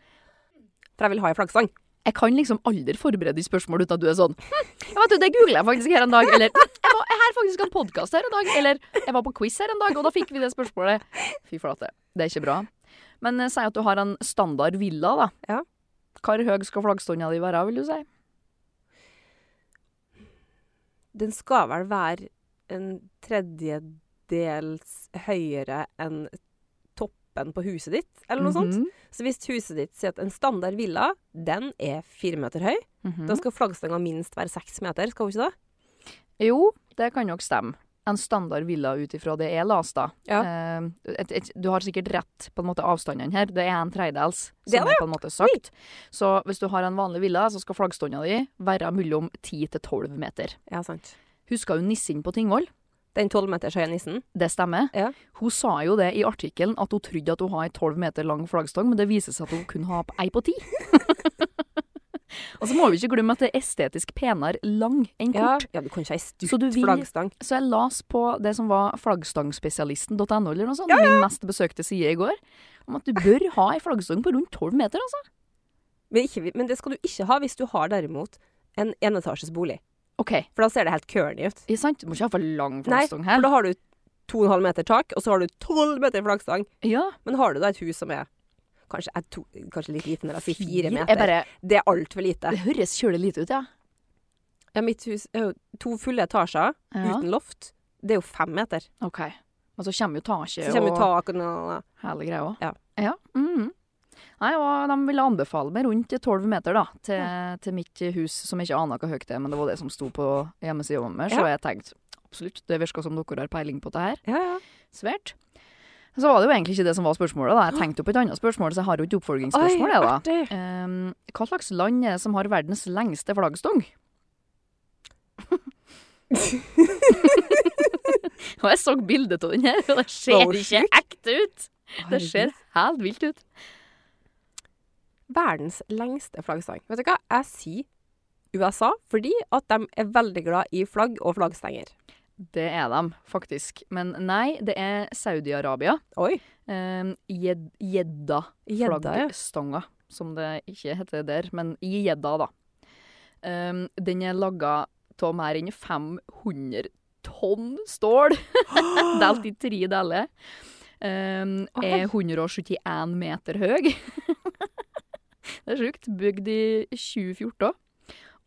Speaker 3: For jeg vil ha en flaggstang.
Speaker 2: Jeg kan liksom aldri forberede de spørsmål uten at du er sånn hm, jeg vet du, Det googla jeg faktisk her en dag. Eller hm, jeg var jeg har faktisk en podkast her en dag. Eller jeg var på quiz her en dag, og da fikk vi det spørsmålet. Fy flate. Det er ikke bra. Men eh, si at du har en standard villa, da.
Speaker 3: Ja.
Speaker 2: Hvor høy skal flaggstonga di være, vil du si?
Speaker 3: Den skal vel være en tredjedels høyere enn toppen på huset ditt, eller noe sånt.
Speaker 2: Mhm.
Speaker 3: Så hvis huset ditt sier at en standard villa, den er fire meter høy,
Speaker 2: Mhm.
Speaker 3: da skal flaggstanga minst være seks meter, skal hun ikke det?
Speaker 2: Jo, det kan nok stemme. En standard villa ut ifra det jeg leste, da.
Speaker 3: Ja.
Speaker 2: Eh, et, et, du har sikkert rett på en måte avstandene her. Det er en tredjedels,
Speaker 3: Det
Speaker 2: som
Speaker 3: er
Speaker 2: er på en måte sagt. Så hvis du har en vanlig villa, så skal flaggstanda di være mellom 10 til 12 meter.
Speaker 3: Ja, sant.
Speaker 2: Husker du nissen på Tingvoll?
Speaker 3: Den tolv meters høye nissen.
Speaker 2: Det stemmer.
Speaker 3: Ja.
Speaker 2: Hun sa jo det i artikkelen at hun trodde at hun har en 12 meter lang flaggstang, men det viser seg at hun kun har ei på
Speaker 3: *laughs*
Speaker 2: ti. *laughs* Og så må vi ikke glemme at det er estetisk penere lang enn
Speaker 3: Ja.
Speaker 2: kort.
Speaker 3: ja, du kan ikke ha ei
Speaker 2: Så du
Speaker 3: stupt
Speaker 2: vil-
Speaker 3: flaggstang.
Speaker 2: Så jeg las på det som var flaggstangspesialisten.no, eller noe sånt, min mest besøkte side i går, om at du bør ha ei flaggstang på rundt 12 meter, altså.
Speaker 3: Men, ikke, men det skal du ikke ha hvis du har derimot en enetasjes bolig.
Speaker 2: OK,
Speaker 3: For da ser det helt curly ut.
Speaker 2: ikke sant? Du må ikke ha for lang
Speaker 3: Nei,
Speaker 2: flaggstang
Speaker 3: for
Speaker 2: her.
Speaker 3: da har du 2,5 meter tak, og så har du 12 meter flaggstang.
Speaker 2: Ja,
Speaker 3: Men har du da et hus som er kanskje, jeg to, kanskje litt lite når jeg sier fire meter?
Speaker 2: Jeg bare,
Speaker 3: Det er altfor lite.
Speaker 2: det høres kjølig lite ut, ja.
Speaker 3: Ja, mitt hus er jo to fulle etasjer
Speaker 2: ja.
Speaker 3: uten loft. Det er jo fem meter.
Speaker 2: OK. Men så kommer jo
Speaker 3: Så
Speaker 2: taket
Speaker 3: kommer jo
Speaker 2: og
Speaker 3: tak og noe.
Speaker 2: hele greia òg.
Speaker 3: Ja.
Speaker 2: ja. mhm. Nei, og de ville anbefale meg rundt 12 meter, da, til, til mitt hus, som jeg ikke aner hvor høyt det er, men det var det som sto på hjemmesida mi, så jeg tenkte absolutt, det virker som dere har peiling på det her.
Speaker 3: Ja, ja.
Speaker 2: Svært. Så var det jo egentlig ikke det som var spørsmålet. da. Jeg tenkte jo på et annet spørsmål, så jeg har jo ikke oppfølgingsspørsmål. jeg, da.
Speaker 3: *laughs* artig.
Speaker 2: Ehm, hva slags land er det som har verdens lengste flaggstong? *laughs* og jeg så bildet av den her, og det ser
Speaker 3: Var hun
Speaker 2: ikke
Speaker 3: sjuk?
Speaker 2: ekte ut! Det ser helt vilt ut.
Speaker 3: Verdens lengste flaggstang. Vet du hva? Jeg sier USA fordi at de er veldig glad i flagg og flaggstenger.
Speaker 2: Det er de, faktisk. Men nei, det er Saudi-Arabia.
Speaker 3: Oi.
Speaker 2: Ehm, Jed- Jedda.
Speaker 3: Gjedda, ja.
Speaker 2: flaggstanga, som det ikke heter der, men i gjedda, da. Um, den er laga av mer enn 500 tonn stål, *laughs* delt i tre deler. Um, er 171 meter høy. *laughs* det er sjukt. Bygd i 2014.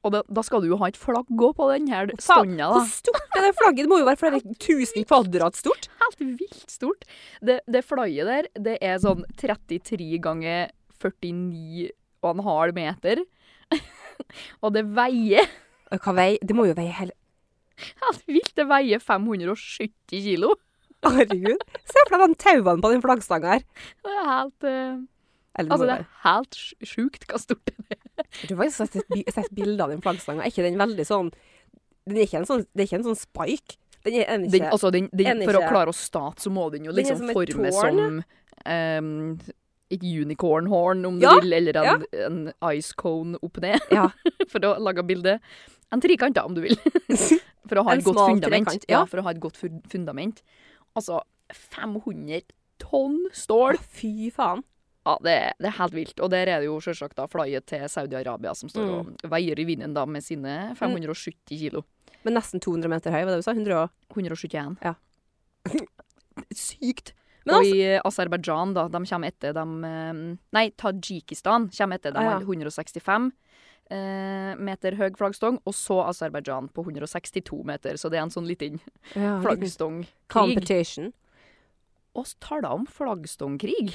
Speaker 2: Og da, da skal du jo ha et flagg òg på den her
Speaker 3: faen,
Speaker 2: stanga, da.
Speaker 3: Hvor stort er det flagget? Det må jo være flere tusen kvadrat stort.
Speaker 2: Helt vilt stort. Det, det flyet der, det er sånn 33 ganger 49 og en halv meter. *laughs* og det veier
Speaker 3: Og Hva vei? Det må jo veie hele
Speaker 2: helt vilt. Det veier 570 kilo.
Speaker 3: Herregud. Se for deg de tauene på den flaggstanga her.
Speaker 2: Det er helt, eh,
Speaker 3: Eller,
Speaker 2: altså,
Speaker 3: må
Speaker 2: det
Speaker 3: være-
Speaker 2: er helt sj- sjukt hva stort det er.
Speaker 3: Jeg tror faktisk jeg har sett, bi- sett bilder av den flaggstanga. Er ikke den veldig sånn den er ikke en sånn, Det er ikke en sånn spike. Den er, den er ikke
Speaker 2: Den, altså, den, den,
Speaker 3: en
Speaker 2: for å
Speaker 3: ikke-
Speaker 2: klare å starte, så må den jo
Speaker 3: Den er
Speaker 2: liksom
Speaker 3: som et
Speaker 2: forme
Speaker 3: tårn,
Speaker 2: som em, et unicornhorn, om
Speaker 3: Ja,
Speaker 2: du vil, eller en, en ice cone opp ned,
Speaker 3: Ja.
Speaker 2: *laughs* for å lage bilde. En trikant, da, om du vil. For å ha
Speaker 3: En
Speaker 2: et godt
Speaker 3: smal
Speaker 2: fundament.
Speaker 3: trekant,
Speaker 2: ja.
Speaker 3: ja.
Speaker 2: for å ha et godt fun- fundament. Altså, 500 tonn stål!
Speaker 3: Å, Fy faen.
Speaker 2: Ja, det, er- det er helt vilt. Og der er det jo selvsagt da flyet til Saudi-Arabia som står
Speaker 3: Mm.
Speaker 2: og veier i vinden da med sine 570 kilo.
Speaker 3: Men nesten 200 meter høy, var det du sa? 100 og
Speaker 2: 171.
Speaker 3: Ja.
Speaker 2: Sykt.
Speaker 3: Men altså-
Speaker 2: og i Aserbajdsjan, da, de eh, kommer etter dem eh, Nei, Tadsjikistan kommer etter dem
Speaker 3: Ah, ja.
Speaker 2: alle 165. eh, meter høy flaggstong, og så Aserbajdsjan på 162 meter. Så det er en sånn liten
Speaker 3: Ja,
Speaker 2: flaggstongkrig.
Speaker 3: altså, Competition.
Speaker 2: Og så tar det om flaggstongkrig.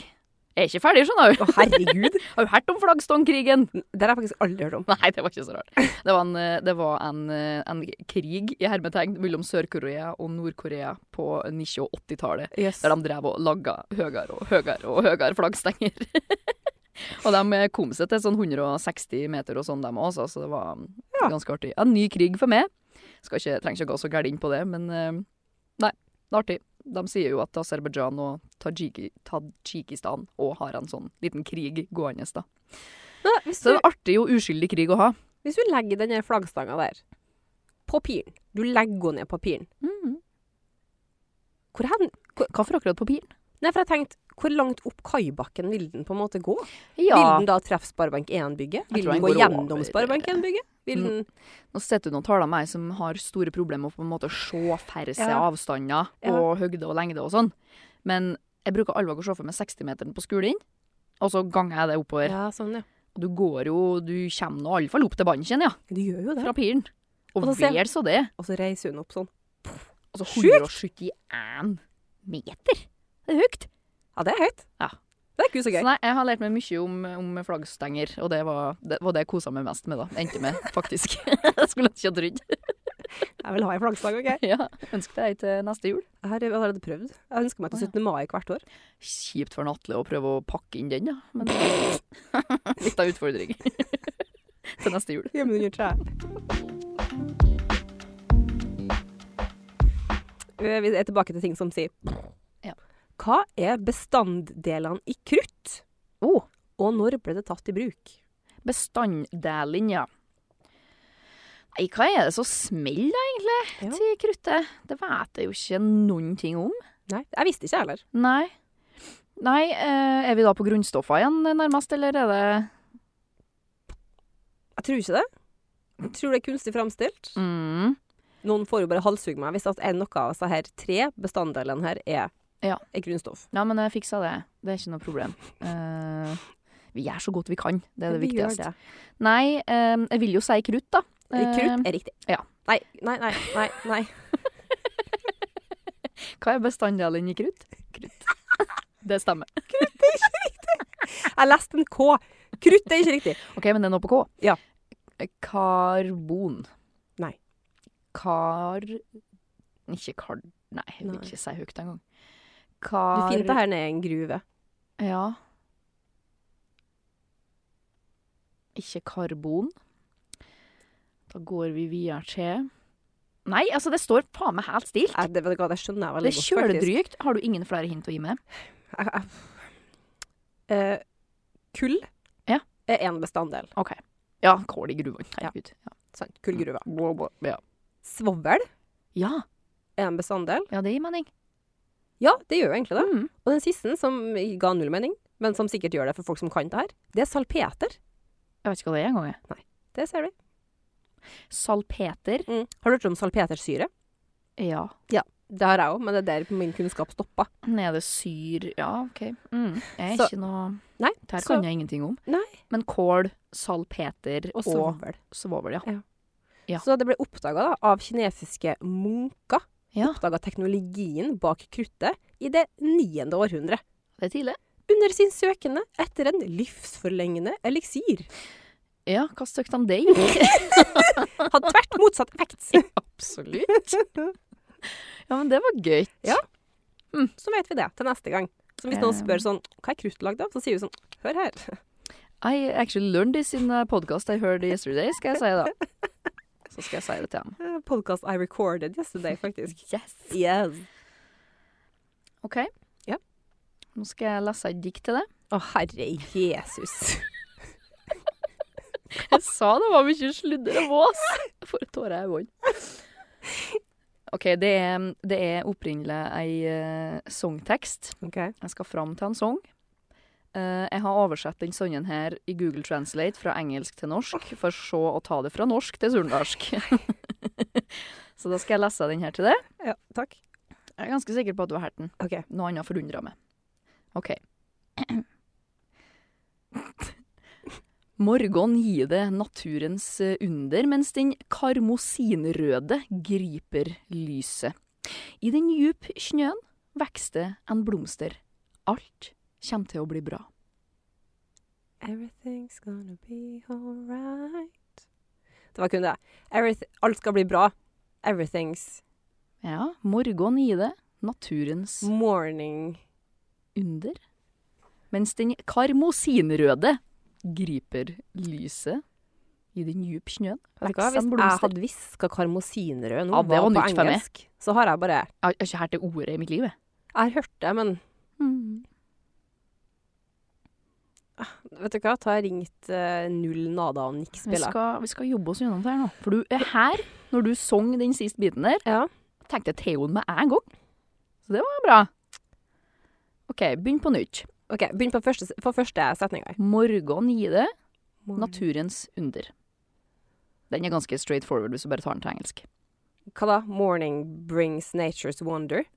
Speaker 2: Jeg er ikke ferdig, skjønner du.
Speaker 3: Å, herregud!
Speaker 2: Har du hørt om flaggstongkrigen? *laughs*
Speaker 3: Det har jeg faktisk aldri hørt om.
Speaker 2: Nei, det var ikke så rart. Det var en, eh, det var en, eh, en krig i hermetegn mellom Sør-Korea og Nord-Korea på 1980- og 80-tallet.
Speaker 3: Yes.
Speaker 2: Der de drev og laga høyere og høyere og høyere flaggstenger. *laughs* og de kom seg til sånn 160 meter og sånn, dem også, så det var
Speaker 3: Ja.
Speaker 2: ganske artig. En ny krig for meg. Skal ikke, trenger ikke gå så gærent inn på det, men eh, nei, det er artig. De sier jo at Aserbajdsjan og Tajiki, Tadsjikistan òg har en sånn liten krig gående, da.
Speaker 3: Nei, hvis,
Speaker 2: Så det
Speaker 3: du,
Speaker 2: er en artig og uskyldig krig å ha.
Speaker 3: hvis du legger den der flaggstanga der på piren Du legger henne ned på piren. Hvor hen?
Speaker 2: Mm. Hva for akkurat på bilen?
Speaker 3: Nei, for jeg tenkte, hvor langt opp kaibakken vil den på en måte gå? Vil
Speaker 2: Ja,
Speaker 3: den da treffe Sparebank 1-bygget?
Speaker 2: Jeg
Speaker 3: Vil
Speaker 2: tror den
Speaker 3: den gå
Speaker 2: går
Speaker 3: gjennom
Speaker 2: over. Mm,
Speaker 3: Sparebank 1-bygget? Vil den
Speaker 2: nå sitter du og taler med ei som har store problemer med å på en måte se færre seg
Speaker 3: Ja.
Speaker 2: avstander
Speaker 3: Ja.
Speaker 2: og høgde og lengde og sånn. Men jeg bruker alvor å se for meg 60-meteren på skolen, og så ganger jeg det oppover.
Speaker 3: Ja, sånn, ja.
Speaker 2: Du går jo Du kommer nå iallfall opp til banken, ja.
Speaker 3: Du gjør jo det.
Speaker 2: Fra piren. Og,
Speaker 3: Og så ser-
Speaker 2: vel så det.
Speaker 3: Og så reiser hun opp sånn.
Speaker 2: Altså
Speaker 3: Sjukt!
Speaker 2: 171 meter! Det er høyt.
Speaker 3: Ja, det er høyt.
Speaker 2: Ja.
Speaker 3: Det er ikke så
Speaker 2: Så
Speaker 3: gøy.
Speaker 2: nei, jeg har lært meg mye om, om flaggstenger, og det var det, var det jeg kosa meg mest med, da. Endte med, faktisk. *laughs* jeg skulle ikke ha trodd.
Speaker 3: Jeg vil ha en flaggstang, OK?
Speaker 2: Ja. Ønsk deg ei til neste jul.
Speaker 3: Jeg har allerede prøvd. Jeg ønsker meg til
Speaker 2: Å, ja.
Speaker 3: 17. mai hvert år.
Speaker 2: Kjipt for en Atle å prøve å pakke inn den, da. Men det er litt av utfordring. *laughs* Til neste jul.
Speaker 3: Hjemme under treet. Vi er tilbake til ting som sier
Speaker 2: Ja.
Speaker 3: Hva er bestanddelene i krutt?
Speaker 2: Oh.
Speaker 3: Og når ble det tatt i bruk?
Speaker 2: Bestanddelen, ja. Nei, hva er det som smeller, da, egentlig,
Speaker 3: Ja.
Speaker 2: til kruttet? Det vet jeg jo ikke noen ting om.
Speaker 3: Nei, jeg visste ikke, jeg heller.
Speaker 2: Nei. Nei, eh, er vi da på grunnstoffa igjen, eh, nærmest, eller er det
Speaker 3: Jeg tror ikke det. Jeg tror det er kunstig framstilt.
Speaker 2: mm.
Speaker 3: Noen får jo bare halshugge meg hvis at en noe av disse her tre bestanddelene her er,
Speaker 2: Ja.
Speaker 3: er grunnstoff.
Speaker 2: Ja, men jeg fiksa det. Det er ikke noe problem. Eh, vi gjør så godt vi kan. Det er det
Speaker 3: Vi gjør
Speaker 2: viktigste.
Speaker 3: det.
Speaker 2: Nei, eh, jeg vil jo si krutt, da. Eh,
Speaker 3: Krutt er riktig.
Speaker 2: ja.
Speaker 3: Nei, nei, nei. nei, nei.
Speaker 2: Hva er bestanddelen i krutt? Krutt. *laughs* Det stemmer.
Speaker 3: Jeg leste en K. Krutt er ikke riktig.
Speaker 2: OK, men det er noe på K.
Speaker 3: Ja.
Speaker 2: Karbon.
Speaker 3: Nei.
Speaker 2: Kar... Ikke kar... Nei, jeg vil
Speaker 3: Nei.
Speaker 2: ikke si høyt engang.
Speaker 3: Du
Speaker 2: Kar...
Speaker 3: finner det her nede i en gruve.
Speaker 2: Ja. Ikke karbon. Da går vi videre til Nei, altså, det står faen meg helt stilt.
Speaker 3: Nei, det, vet du hva, det skjønner jeg
Speaker 2: Det
Speaker 3: veldig
Speaker 2: er
Speaker 3: godt, faktisk.
Speaker 2: kjøledrygt. Har du ingen flere hint å gi meg?
Speaker 3: Jeg- jeg- Eh, kull
Speaker 2: Ja.
Speaker 3: er én bestanddel.
Speaker 2: OK. Ja, kål i gruvene. Herregud.
Speaker 3: Sant, Kullgruva.
Speaker 2: Mm. Ja.
Speaker 3: Svovel
Speaker 2: ja.
Speaker 3: er en bestanddel.
Speaker 2: Ja, det gir mening.
Speaker 3: Ja, det gjør jo egentlig det.
Speaker 2: Mm.
Speaker 3: Og den siste, som ga null mening, men som sikkert gjør det for folk som kan det her, det er salpeter.
Speaker 2: Jeg vet ikke hva det er engang. jeg.
Speaker 3: Det ser vi. Mm.
Speaker 2: Salpeter.
Speaker 3: Har du hørt om salpetersyre?
Speaker 2: Ja.
Speaker 3: Det har jeg òg, men det er der min kunnskap stoppa.
Speaker 2: Nede syr Ja, OK. Mm. Jeg er
Speaker 3: Så-
Speaker 2: ikke noe
Speaker 3: Nei,
Speaker 2: Det her
Speaker 3: så-
Speaker 2: kan jeg ingenting om.
Speaker 3: Nei.
Speaker 2: Men kål, salpeter
Speaker 3: Og
Speaker 2: og,
Speaker 3: svovel.
Speaker 2: svovel, ja. Ja.
Speaker 3: Så det ble oppdaga av kinesiske munker.
Speaker 2: Ja.
Speaker 3: Oppdaga teknologien bak kruttet i det niende århundret.
Speaker 2: Det er tidlig.
Speaker 3: under sin søkende etter en livsforlengende eliksir.
Speaker 2: Ja, hva søkte han
Speaker 3: *laughs*
Speaker 2: deg?
Speaker 3: Hadde tvert motsatt effekt.
Speaker 2: Absolutt. Ja, men det var gøy.
Speaker 3: Ja. Så vet vi det til neste gang. Så hvis noen spør sånn, hva er krutt lagd av, så sier vi sånn, hør her.
Speaker 2: I actually learned this in a podcast I heard yesterday, skal jeg si da. Så skal jeg si det til ham.
Speaker 3: Eh, Podcast I recorded yesterday, faktisk.
Speaker 2: Yes.
Speaker 3: Yes.
Speaker 2: OK.
Speaker 3: Ja.
Speaker 2: Nå skal jeg lese et dikt til deg.
Speaker 3: Å, herre Jesus.
Speaker 2: Jeg sa det var mye sludder og vås. *laughs* For et tåre jeg vant. OK, det er, det er opprinnelig ei eh, sangtekst.
Speaker 3: Ok.
Speaker 2: Jeg skal fram til en sang. Eh, jeg har oversett den sangen her i Google Translate fra engelsk til norsk, for så å ta det fra norsk til surnadalsk. *laughs* så da skal jeg lese den her til deg.
Speaker 3: Ja, takk.
Speaker 2: Jeg er ganske sikker på at du har hørt den.
Speaker 3: Ok.
Speaker 2: Noe annet
Speaker 3: *clears throat*
Speaker 2: forundrer meg. OK. Morgon gir det naturens eh, under, mens den karmosinrøde griper lyset. I den djup snøen vekster en blomster. Alt kommer til å bli bra.
Speaker 3: Everything's gonna be alright. Det var kun det. Everyth alt skal bli bra. Everything's
Speaker 2: Ja, morgon gir det naturens
Speaker 3: morning.
Speaker 2: under, mens den karmosinrøde griper lyset i den djup snøen.
Speaker 3: Vet du
Speaker 2: vokser
Speaker 3: hva?
Speaker 2: en
Speaker 3: Hvis jeg
Speaker 2: blomster.
Speaker 3: hadde hviska karmosinrød nå,
Speaker 2: Ja, det
Speaker 3: var
Speaker 2: var
Speaker 3: på
Speaker 2: nytt for meg.
Speaker 3: engelsk, så har jeg bare
Speaker 2: Jeg har ikke hørt det ordet i mitt liv, jeg.
Speaker 3: Jeg har hørt det, men
Speaker 2: Mm.
Speaker 3: vet du hva? Da har jeg ringt eh, null nada og niks
Speaker 2: Vi,
Speaker 3: spiller.
Speaker 2: skal, vi skal jobbe oss gjennom det her nå. For du er her, når du sang den siste biten der,
Speaker 3: Ja.
Speaker 2: tenkte jeg Theoen med en gang. Så det var bra. OK, begynn på nytt.
Speaker 3: OK, begynn på første, på første setninga.
Speaker 2: Morgen gir det naturens under. Den er ganske straight forward hvis du bare tar den til engelsk.
Speaker 3: Hva da? Morning brings nature's wonder.
Speaker 2: *laughs*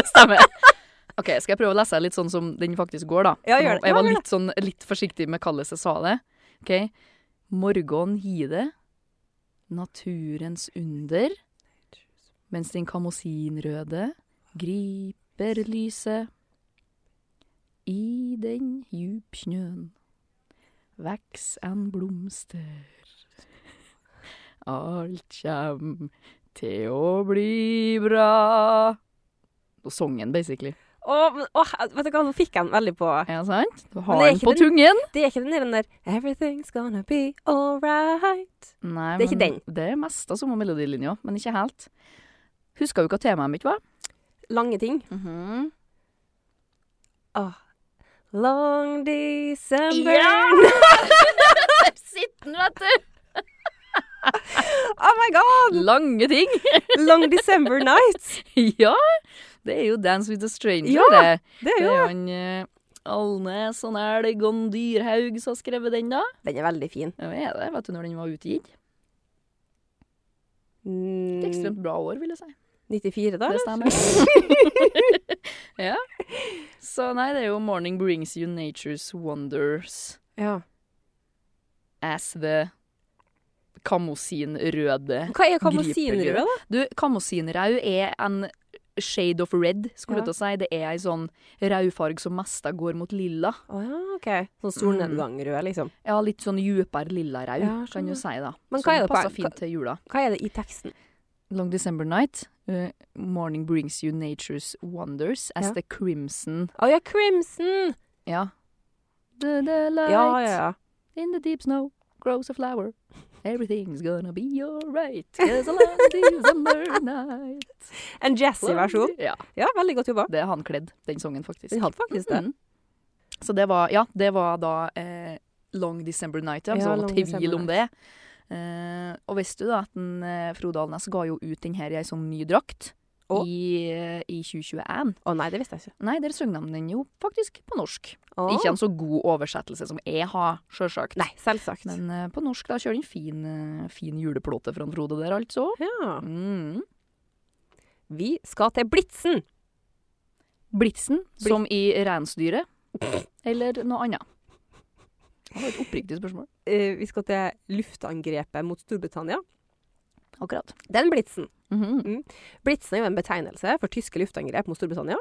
Speaker 2: Stemmer. OK, skal jeg prøve å lese litt sånn som den faktisk går, da?
Speaker 3: Ja, gjør det.
Speaker 2: Jeg
Speaker 3: Ja,
Speaker 2: var
Speaker 3: gjør det.
Speaker 2: litt, sånn, litt forsiktig med hvordan jeg sa det. OK. Morgen gi det naturens under, mens den kamosinrøde griper lyset. I den djup snøen veks en blomster. Alt kjem til å bli bra. Og sangen, basically.
Speaker 3: Å, men- å, vet du hva, nå fikk jeg den veldig på
Speaker 2: Ja, sant? Du
Speaker 3: Men det
Speaker 2: har
Speaker 3: er
Speaker 2: den
Speaker 3: ikke
Speaker 2: på
Speaker 3: den-
Speaker 2: tungen.
Speaker 3: Det er ikke den der, den der Everything's gonna be alright.
Speaker 2: Nei,
Speaker 3: Det er ikke
Speaker 2: men Det er mest av samme melodilinja, men ikke helt. Husker jo hva temaet mitt var?
Speaker 3: Lange ting. Åh. Long December
Speaker 2: Der sitter den, vet du!
Speaker 3: Oh my god!
Speaker 2: Lange ting. *laughs*
Speaker 3: Long December Night.
Speaker 2: ja! Det er jo Dance with a Stranger,
Speaker 3: Ja,
Speaker 2: det.
Speaker 3: Det er
Speaker 2: Det
Speaker 3: jo
Speaker 2: er jo han eh, Alnes og Elg og en Dyrhaug som har skrevet den, da.
Speaker 3: Den er veldig fin.
Speaker 2: Ja, Hva er det? Vet du når den var utgitt? Det er
Speaker 3: Mm,
Speaker 2: Ekstremt bra år, vil jeg si.
Speaker 3: 94, da?
Speaker 2: Det
Speaker 3: eller?
Speaker 2: stemmer. *laughs* ja. Så nei, det er jo 'Morning brings you nature's wonders
Speaker 3: Ja.
Speaker 2: as the kamosinrøde'.
Speaker 3: Hva er
Speaker 2: Griper
Speaker 3: kamosinrød, da?
Speaker 2: Du, kamosinrau er en shade of red, skulle jeg
Speaker 3: Ja.
Speaker 2: til å si. Det er ei sånn rødfarge som mest går mot lilla.
Speaker 3: Å ja, OK. Sånn solnedgangrød, liksom.
Speaker 2: Ja, litt sånn djupere lilla rau,
Speaker 3: Ja,
Speaker 2: kan du
Speaker 3: skjønner.
Speaker 2: si, da.
Speaker 3: Men
Speaker 2: som
Speaker 3: hva er det på-
Speaker 2: passer fint til jula.
Speaker 3: Hva er det i teksten?
Speaker 2: Long December Night. eh, morning brings you nature's wonders as
Speaker 3: Ja.
Speaker 2: the crimson
Speaker 3: Å ja, Crimson!
Speaker 2: Ja. The, the light
Speaker 3: Ja, ja, ja.
Speaker 2: in the deep snow grows a flower. Everything's gonna be alright. It's a long December night.
Speaker 3: En jazzy-versjon.
Speaker 2: Ja,
Speaker 3: Ja, veldig godt jobba.
Speaker 2: det er han kledd, den sangen, faktisk.
Speaker 3: Den hadde faktisk det.
Speaker 2: Mm. Så det var, ja, det var da eh, Long December Night, ja.
Speaker 3: Ja,
Speaker 2: Så
Speaker 3: Long
Speaker 2: tvil
Speaker 3: December
Speaker 2: om det. Eh, og visste du da at den, eh, Frode Alnes ga jo ut den her i ei sånn ny drakt
Speaker 3: Å.
Speaker 2: i, eh, i 2021?
Speaker 3: Å nei, det visste jeg ikke.
Speaker 2: Nei, der sang de den jo faktisk på norsk.
Speaker 3: Å.
Speaker 2: Ikke en så god oversettelse som jeg har, sjølsagt.
Speaker 3: Nei, selvsagt.
Speaker 2: Men eh, på norsk da kjører den fin, eh, fin juleplåte fra Frode der, altså.
Speaker 3: Ja.
Speaker 2: Mm.
Speaker 3: Vi skal til Blitsen!
Speaker 2: Blitsen, som i reinsdyret. Eller noe annet. Det var et oppriktig spørsmål.
Speaker 3: Eh, vi skal til luftangrepet mot Storbritannia.
Speaker 2: Akkurat.
Speaker 3: Den Blitzen.
Speaker 2: Mhm.
Speaker 3: Blitzen er jo en betegnelse for tyske luftangrep mot Storbritannia,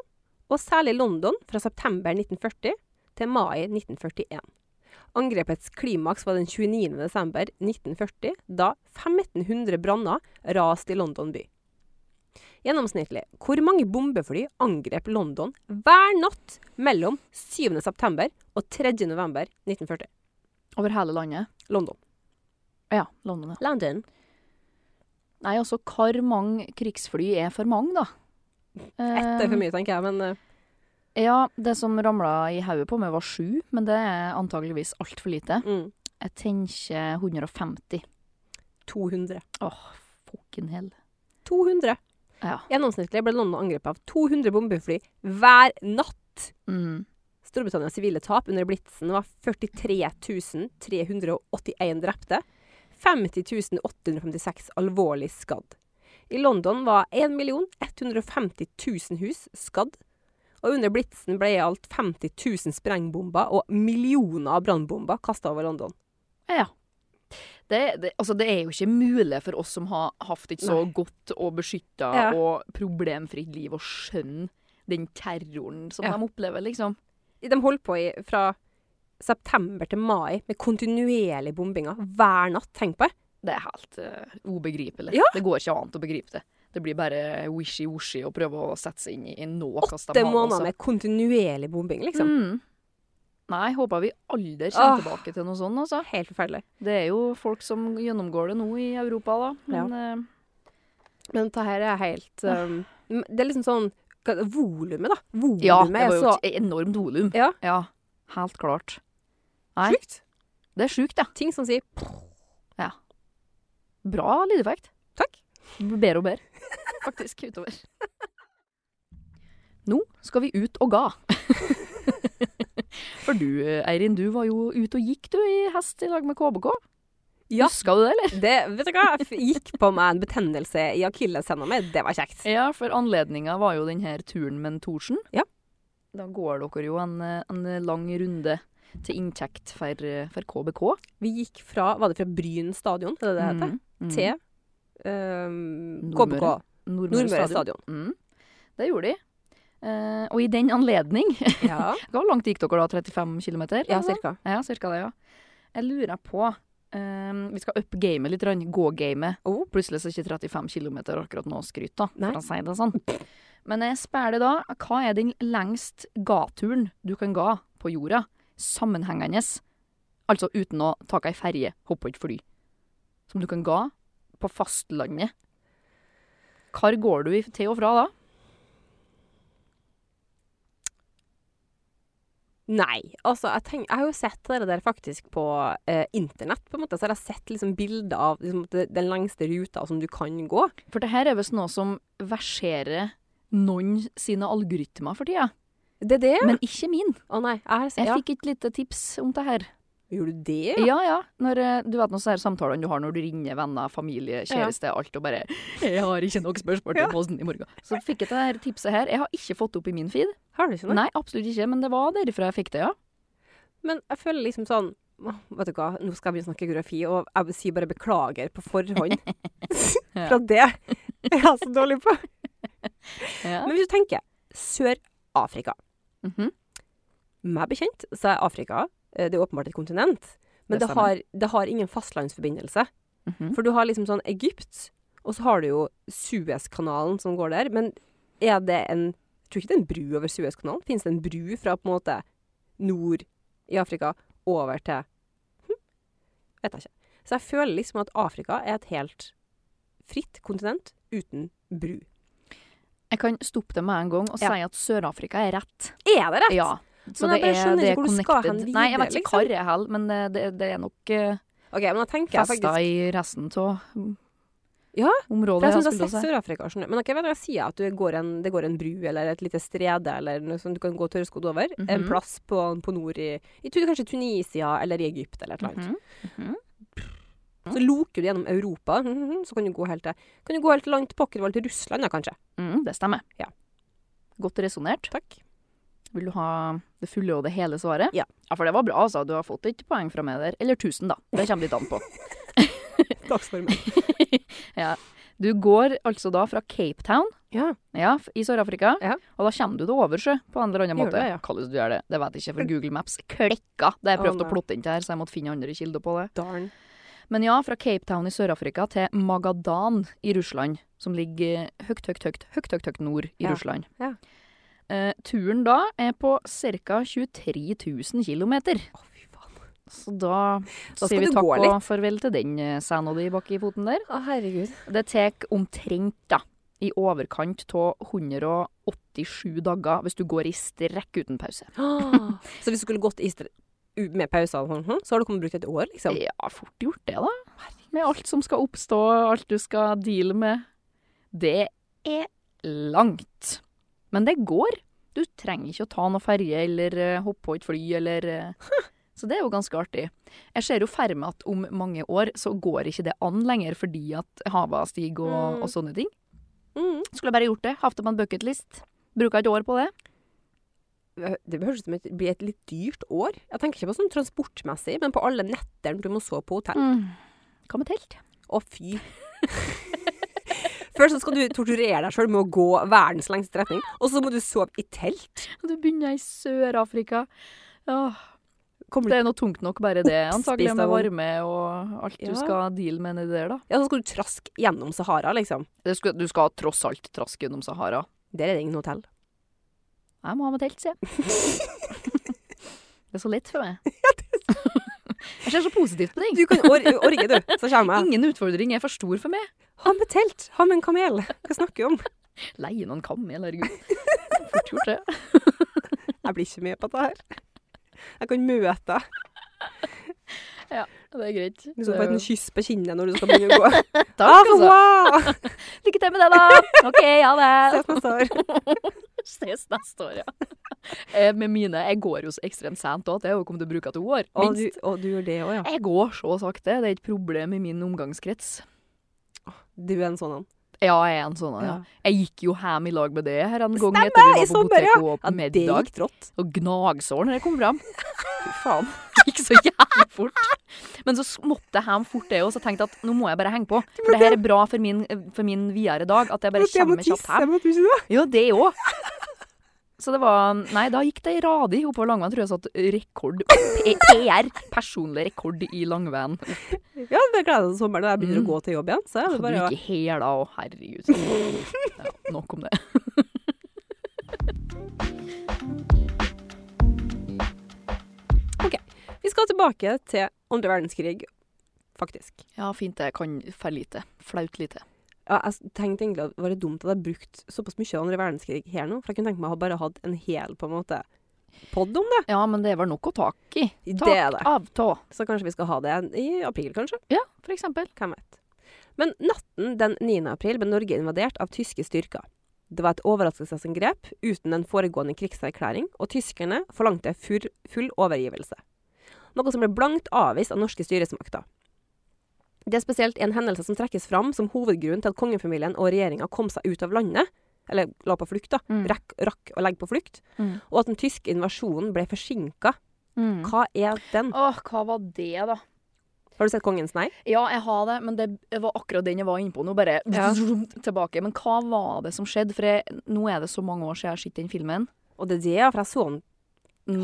Speaker 3: og særlig London fra september 1940 til mai 1941. Angrepets klimaks var den 29. desember 1940, da 1500 branner raste i London by. Gjennomsnittlig, hvor mange bombefly angrep London hver natt mellom 7. september og 3. november 1940?
Speaker 2: Over hele landet.
Speaker 3: London.
Speaker 2: Ja, London, ja.
Speaker 3: London.
Speaker 2: Nei, altså, hvor mange krigsfly er for mange, da?
Speaker 3: Ett er for mye, tenker jeg, men eh,
Speaker 2: Ja, det som ramla i hodet på meg, var sju, men det er antageligvis altfor lite.
Speaker 3: mm,
Speaker 2: Jeg tenker 150.
Speaker 3: 200.
Speaker 2: Åh, fucking hell.
Speaker 3: 200.
Speaker 2: Ja.
Speaker 3: Gjennomsnittlig ble London angrepet av 200 bombefly hver natt.
Speaker 2: Mm.
Speaker 3: Storbritannias sivile tap under blitsen var 43 381 drepte. 50 856 alvorlig skadd. I London var 1 150 000 hus skadd, Og under blitsen ble i alt 50 000 sprengbomber og millioner av brannbomber kasta over London.
Speaker 2: Ja. Det, det, altså det er jo ikke mulig for oss som har hatt et så godt og beskytta
Speaker 3: Ja.
Speaker 2: og problemfritt liv, å skjønne den terroren som
Speaker 3: Ja.
Speaker 2: de opplever, liksom.
Speaker 3: De holdt på i, fra september til mai med kontinuerlig bombinger hver natt. Tenk på det.
Speaker 2: Det er helt eh, ubegripelig.
Speaker 3: Ja.
Speaker 2: Det går ikke an å begripe det. Det blir bare wishy-washy å prøve å sette seg inn i nå hva
Speaker 3: Åtte måneder med kontinuerlig bombing, liksom.
Speaker 2: altså. Mm. Nei, håper vi aldri kommer
Speaker 3: Åh.
Speaker 2: tilbake til noe sånt, altså.
Speaker 3: Helt forferdelig.
Speaker 2: Det er jo folk som gjennomgår det nå i Europa, da. Men eh,
Speaker 3: Men dette her er helt um, Det er liksom sånn hva- Volumet, da. Volumet
Speaker 2: ja, det var
Speaker 3: er
Speaker 2: jo
Speaker 3: så
Speaker 2: et enormt volum.
Speaker 3: Ja.
Speaker 2: ja. Helt klart. Nei.
Speaker 3: sjukt.
Speaker 2: Det er sjukt, ja.
Speaker 3: Ting som sier
Speaker 2: Bra lydeffekt.
Speaker 3: Takk.
Speaker 2: Bedre og *laughs* bedre, faktisk, utover. Nå skal vi ut *laughs* og ga. For du, Eirin, du var jo ute og gikk du i hest i lag med KBK.
Speaker 3: Ja.
Speaker 2: Huska du det, eller?
Speaker 3: det, Vet du hva? F- Gikk på meg en betennelse i akilleshæla mi. Det var kjekt.
Speaker 2: Ja, for anledninga var jo denne turen med en Thorsen.
Speaker 3: Ja.
Speaker 2: Da går dere jo en, eh, en lang runde til inntekt for, eh, for KBK.
Speaker 3: Vi gikk fra Var det fra Bryn stadion, er det det heter?
Speaker 2: Mm, mm.
Speaker 3: Til um, KBK.
Speaker 2: Nordmøre. Nordmøre
Speaker 3: Nordmøre
Speaker 2: stadion.
Speaker 3: stadion.
Speaker 2: Mm. Det gjorde de. Eh, og i den anledning *laughs*
Speaker 3: Ja,
Speaker 2: Hvor langt gikk dere da? 35 km?
Speaker 3: ja cirka.
Speaker 2: Ja, cirka det, ja. Jeg lurer på ehm, Vi skal up gamet litt, grann, gå gamet.
Speaker 3: Oh.
Speaker 2: Plutselig så er ikke 35 km akkurat nå skryt, da,
Speaker 3: Nei.
Speaker 2: for å si det sånn. Men jeg spør deg da, hva er den lengst gaturen du kan ga på jorda, sammenhengende, altså uten å ta ei ferje, hoppe på et fly, som du kan ga på fastlandet? Hvor går du i- til og fra da?
Speaker 3: Nei. Altså, jeg, tenk, jeg har jo sett det der faktisk på eh, internett, på en måte. Så har jeg sett liksom bilder av liksom, det- den lengste ruta som du kan gå.
Speaker 2: For det her er visst noe som verserer noen sine algoritmer for tida,
Speaker 3: Det er det?
Speaker 2: men ikke min.
Speaker 3: Å nei. Jeg, har, se-
Speaker 2: Jeg
Speaker 3: ja.
Speaker 2: fikk et lite tips om det her.
Speaker 3: Gjorde du det?
Speaker 2: Ja, ja. Når, eh, du vet noen sånne her samtalene du har når du ringer venner, familie, kjæreste, alt og bare 'Jeg har ikke nok spørsmål til posten i morgen'. Så fikk jeg det her tipset her. Jeg har ikke fått det opp i min feed.
Speaker 3: Har du ikke noe?
Speaker 2: Nei, absolutt ikke. Men det var derifra jeg fikk det, ja.
Speaker 3: Men jeg føler liksom sånn «Åh, Vet du hva, nå skal jeg begynne å snakke geografi, og jeg vil si bare beklager på
Speaker 2: *laughs*
Speaker 3: forhånd. *laughs* For at det er jeg så dårlig på.
Speaker 2: ja.
Speaker 3: Men hvis du tenker Sør-Afrika
Speaker 2: Mhm.
Speaker 3: Meg bekjent så er Afrika eh, Det er åpenbart et kontinent, men
Speaker 2: Det
Speaker 3: det, har, det har ingen fastlandsforbindelse.
Speaker 2: Mhm.
Speaker 3: For du har liksom sånn Egypt, og så har du jo Suezkanalen som går der. Men er det en Jeg tror ikke det er en bru over Suezkanalen. Finnes det en bru fra på en måte nord i Afrika over til hm, Vet jeg ikke. Så jeg føler liksom at Afrika er et helt fritt kontinent uten bru.
Speaker 2: Jeg kan stoppe det med en gang og
Speaker 3: Ja.
Speaker 2: si at Sør-Afrika er rett.
Speaker 3: Er det rett?
Speaker 2: Ja. Så det
Speaker 3: Men jeg bare
Speaker 2: er,
Speaker 3: skjønner
Speaker 2: det er
Speaker 3: ikke hvor du skal hen
Speaker 2: connected. Nei, jeg vet
Speaker 3: videre, liksom.
Speaker 2: ikke hvor jeg holder, men eh, det, det er nok eh,
Speaker 3: OK, men da tenker jeg faktisk
Speaker 2: festa i resten av
Speaker 3: Ja,
Speaker 2: området.
Speaker 3: For
Speaker 2: jeg
Speaker 3: jeg syns jeg
Speaker 2: skulle
Speaker 3: har sett
Speaker 2: si.
Speaker 3: Sør-Afrika, skjønner du. Men ok, vel, jeg sier at du går en, det går en bru eller et lite strede eller noe sånt du kan gå tørrskodd over. En
Speaker 2: Mhm.
Speaker 3: plass på, på nord i, i tu- Kanskje Tunisia eller i Egypt eller et eller annet.
Speaker 2: Mhm.
Speaker 3: Så loker du gjennom Europa, mhm, så kan du gå helt til Kan du gå helt langt pokkervoll til Russland, da, kanskje.
Speaker 2: Mm, det stemmer.
Speaker 3: Ja.
Speaker 2: Godt resonnert.
Speaker 3: Takk. *laughs*
Speaker 2: Vil du ha det fulle og det hele svaret?
Speaker 3: Ja.
Speaker 2: for det var bra, altså. Du har fått et poeng fra meg der. Eller 1000, da. Det kommer litt an
Speaker 3: *laughs*
Speaker 2: på.
Speaker 3: Dagsformen.
Speaker 2: Du går altså da fra Cape Town
Speaker 3: Ja.
Speaker 2: ja, f- i Sør-Afrika,
Speaker 3: Ja.
Speaker 2: og da kommer du til Oversjø på en eller annen
Speaker 3: Gjør
Speaker 2: måte.
Speaker 3: det, ja.
Speaker 2: Hvordan du gjør det, det vet jeg ikke, for Google Maps klekka da jeg
Speaker 3: Å,
Speaker 2: prøvde å
Speaker 3: nei.
Speaker 2: plotte inn det her, så jeg måtte finne andre kilder på det.
Speaker 3: Darn.
Speaker 2: Men ja, fra Cape Town i Sør-Afrika til Magadan i Russland, som ligger eh, høyt, høyt, høyt, høyt, høyt, høyt nord i
Speaker 3: Ja,
Speaker 2: Russland.
Speaker 3: ja.
Speaker 2: Eh, turen da er på ca. 23 000 km.
Speaker 3: Å, fy faen.
Speaker 2: Så da,
Speaker 3: Da skal
Speaker 2: sier vi
Speaker 3: du
Speaker 2: takk
Speaker 3: gå
Speaker 2: og farvel til den eh, sæna di baki foten der.
Speaker 3: Å, herregud.
Speaker 2: Det tar omtrent da, i overkant av 187 dager hvis du går i strekk uten pause.
Speaker 3: *gasps* så hvis du skulle gått i stre- u- med pauser, og sånn, hm, så har du kommet brukt et år, liksom.
Speaker 2: Ja, fort gjort det, da. Med alt som skal oppstå, alt du skal deale med. Det er langt. Men det går. Du trenger ikke å ta noe ferje eller eh, hoppe på et fly eller eh. *laughs* Så det er jo ganske artig. Jeg ser jo for meg at om mange år så går ikke det an lenger fordi at hava stiger og,
Speaker 3: Mm.
Speaker 2: og sånne ting.
Speaker 3: Mm.
Speaker 2: Skulle jeg bare gjort det. Hatt det på en bucketlist. Bruka et år på det.
Speaker 3: det høres ut som det blir et litt dyrt år. Jeg tenker ikke på sånn transportmessig, men på alle nettene du må sove på hotell.
Speaker 2: Mm. Hva med telt?
Speaker 3: Å, fy. *laughs* Først så skal du torturere deg sjøl med å gå verdens lengste strekning, og så må du sove i telt.
Speaker 2: Du begynner i Sør-Afrika. Åh,
Speaker 3: Kommer du,
Speaker 2: det er noe tungt nok, bare det.
Speaker 3: Oppspist
Speaker 2: Antakelig med
Speaker 3: av vann.
Speaker 2: varme og alt
Speaker 3: Ja.
Speaker 2: du skal deale med nedi der, da.
Speaker 3: ja, så skal du traske gjennom Sahara, liksom.
Speaker 2: Du skal, du skal tross alt traske gjennom Sahara.
Speaker 3: Der er det ingen hotell.
Speaker 2: Jeg må ha med telt, sier *laughs* jeg. Det er så lett for meg. *laughs* Jeg ser så positivt på ting.
Speaker 3: Du kan or orge, du, så kommer jeg.
Speaker 2: Ingen utfordring er for stor for meg.
Speaker 3: Ha med telt! Ha med en kamel! Hva snakker vi om?
Speaker 2: Leie noen kamel, *laughs* herregud. Fort gjort, det.
Speaker 3: Jeg blir ikke med på dette her. Jeg kan møte deg.
Speaker 2: Det er greit.
Speaker 3: Du
Speaker 2: Det
Speaker 3: skal
Speaker 2: er
Speaker 3: få
Speaker 2: jo-
Speaker 3: et kyss på kinnet når du skal begynne å gå. Ah,
Speaker 2: Takk, altså.
Speaker 3: wow!
Speaker 2: Lykke til med det, *laughs* da. OK, ha det.
Speaker 3: Ses neste år.
Speaker 2: Ses neste år, ja. *laughs* Eh, Med mine Jeg går jo så ekstremt sent òg, det er jo kommet til å bruke to år.
Speaker 3: Og du,
Speaker 2: Minst.
Speaker 3: og du gjør det òg, ja.
Speaker 2: Jeg går så sakte. Det er et problem i min omgangskrets.
Speaker 3: Du er en sånn en.
Speaker 2: Ja, jeg er en sånn, ja.
Speaker 3: Ja.
Speaker 2: Jeg gikk jo hjem i lag med det her en gang
Speaker 3: Stemmer,
Speaker 2: etter vi
Speaker 3: i
Speaker 2: var på
Speaker 3: sommer, ja.
Speaker 2: Boteco og på
Speaker 3: det
Speaker 2: middag.
Speaker 3: gikk trått.
Speaker 2: Og gnagsår når jeg kom fram. Fy faen. *laughs* Det gikk så jævlig fort. Men så måtte jeg hjem fort det òg, så jeg tenkte at nå må jeg bare henge på. For det her er bra for min, for min videre dag, at jeg bare
Speaker 3: jeg må
Speaker 2: kommer kjapt
Speaker 3: tisse,
Speaker 2: hjem.
Speaker 3: måtte du ikke det?
Speaker 2: Ja, det òg. Så det var Nei, da gikk det radig oppover langveien. Tror jeg satt rekord P- PR. Personlig rekord i langveien.
Speaker 3: Ja, jeg gleder meg til sommeren når jeg begynner å gå til jobb igjen. Så er det
Speaker 2: Hadde
Speaker 3: Mm. bare å
Speaker 2: du ikke hæla og
Speaker 3: *laughs*
Speaker 2: herregud. Ja, nok om det.
Speaker 3: Vi skal tilbake til andre verdenskrig, faktisk.
Speaker 2: Ja, fint det. Jeg kan for lite. Flaut lite.
Speaker 3: Ja, jeg tenkte egentlig at det var litt dumt at jeg brukte såpass mye av andre verdenskrig her nå, for jeg kunne tenke meg å ha bare hatt en hel på en måte podd om det.
Speaker 2: Ja, men det er vel nok å tak i.
Speaker 3: Det
Speaker 2: Tak
Speaker 3: er det.
Speaker 2: av tå,
Speaker 3: Så kanskje vi skal ha det i april, kanskje.
Speaker 2: for eksempel.
Speaker 3: Hvem vet. Men natten den 9. april ble Norge invadert av tyske styrker. Det var et overraskelsesangrep uten en foregående krigserklæring, og tyskerne forlangte full, full overgivelse. Noe som ble blankt avvist av norske styresmakter. Det er spesielt en hendelse som trekkes fram som hovedgrunn til at kongefamilien og regjeringa kom seg ut av landet, eller la på flukt, da.
Speaker 2: Mm.
Speaker 3: Rekk, rakk å legge på flukt.
Speaker 2: Mm.
Speaker 3: Og at den tyske invasjonen ble forsinka.
Speaker 2: Mm.
Speaker 3: Hva er den?
Speaker 2: Åh, hva var det, da?
Speaker 3: Har du sett Kongens nei?
Speaker 2: Ja, jeg har det, men det var akkurat den jeg var inne på nå. Bare
Speaker 3: Ja.
Speaker 2: *laughs* tilbake. Men hva var det som skjedde? For jeg, nå er det så mange år siden jeg har sett den filmen.
Speaker 3: Og det er sånn det, ja, for jeg så den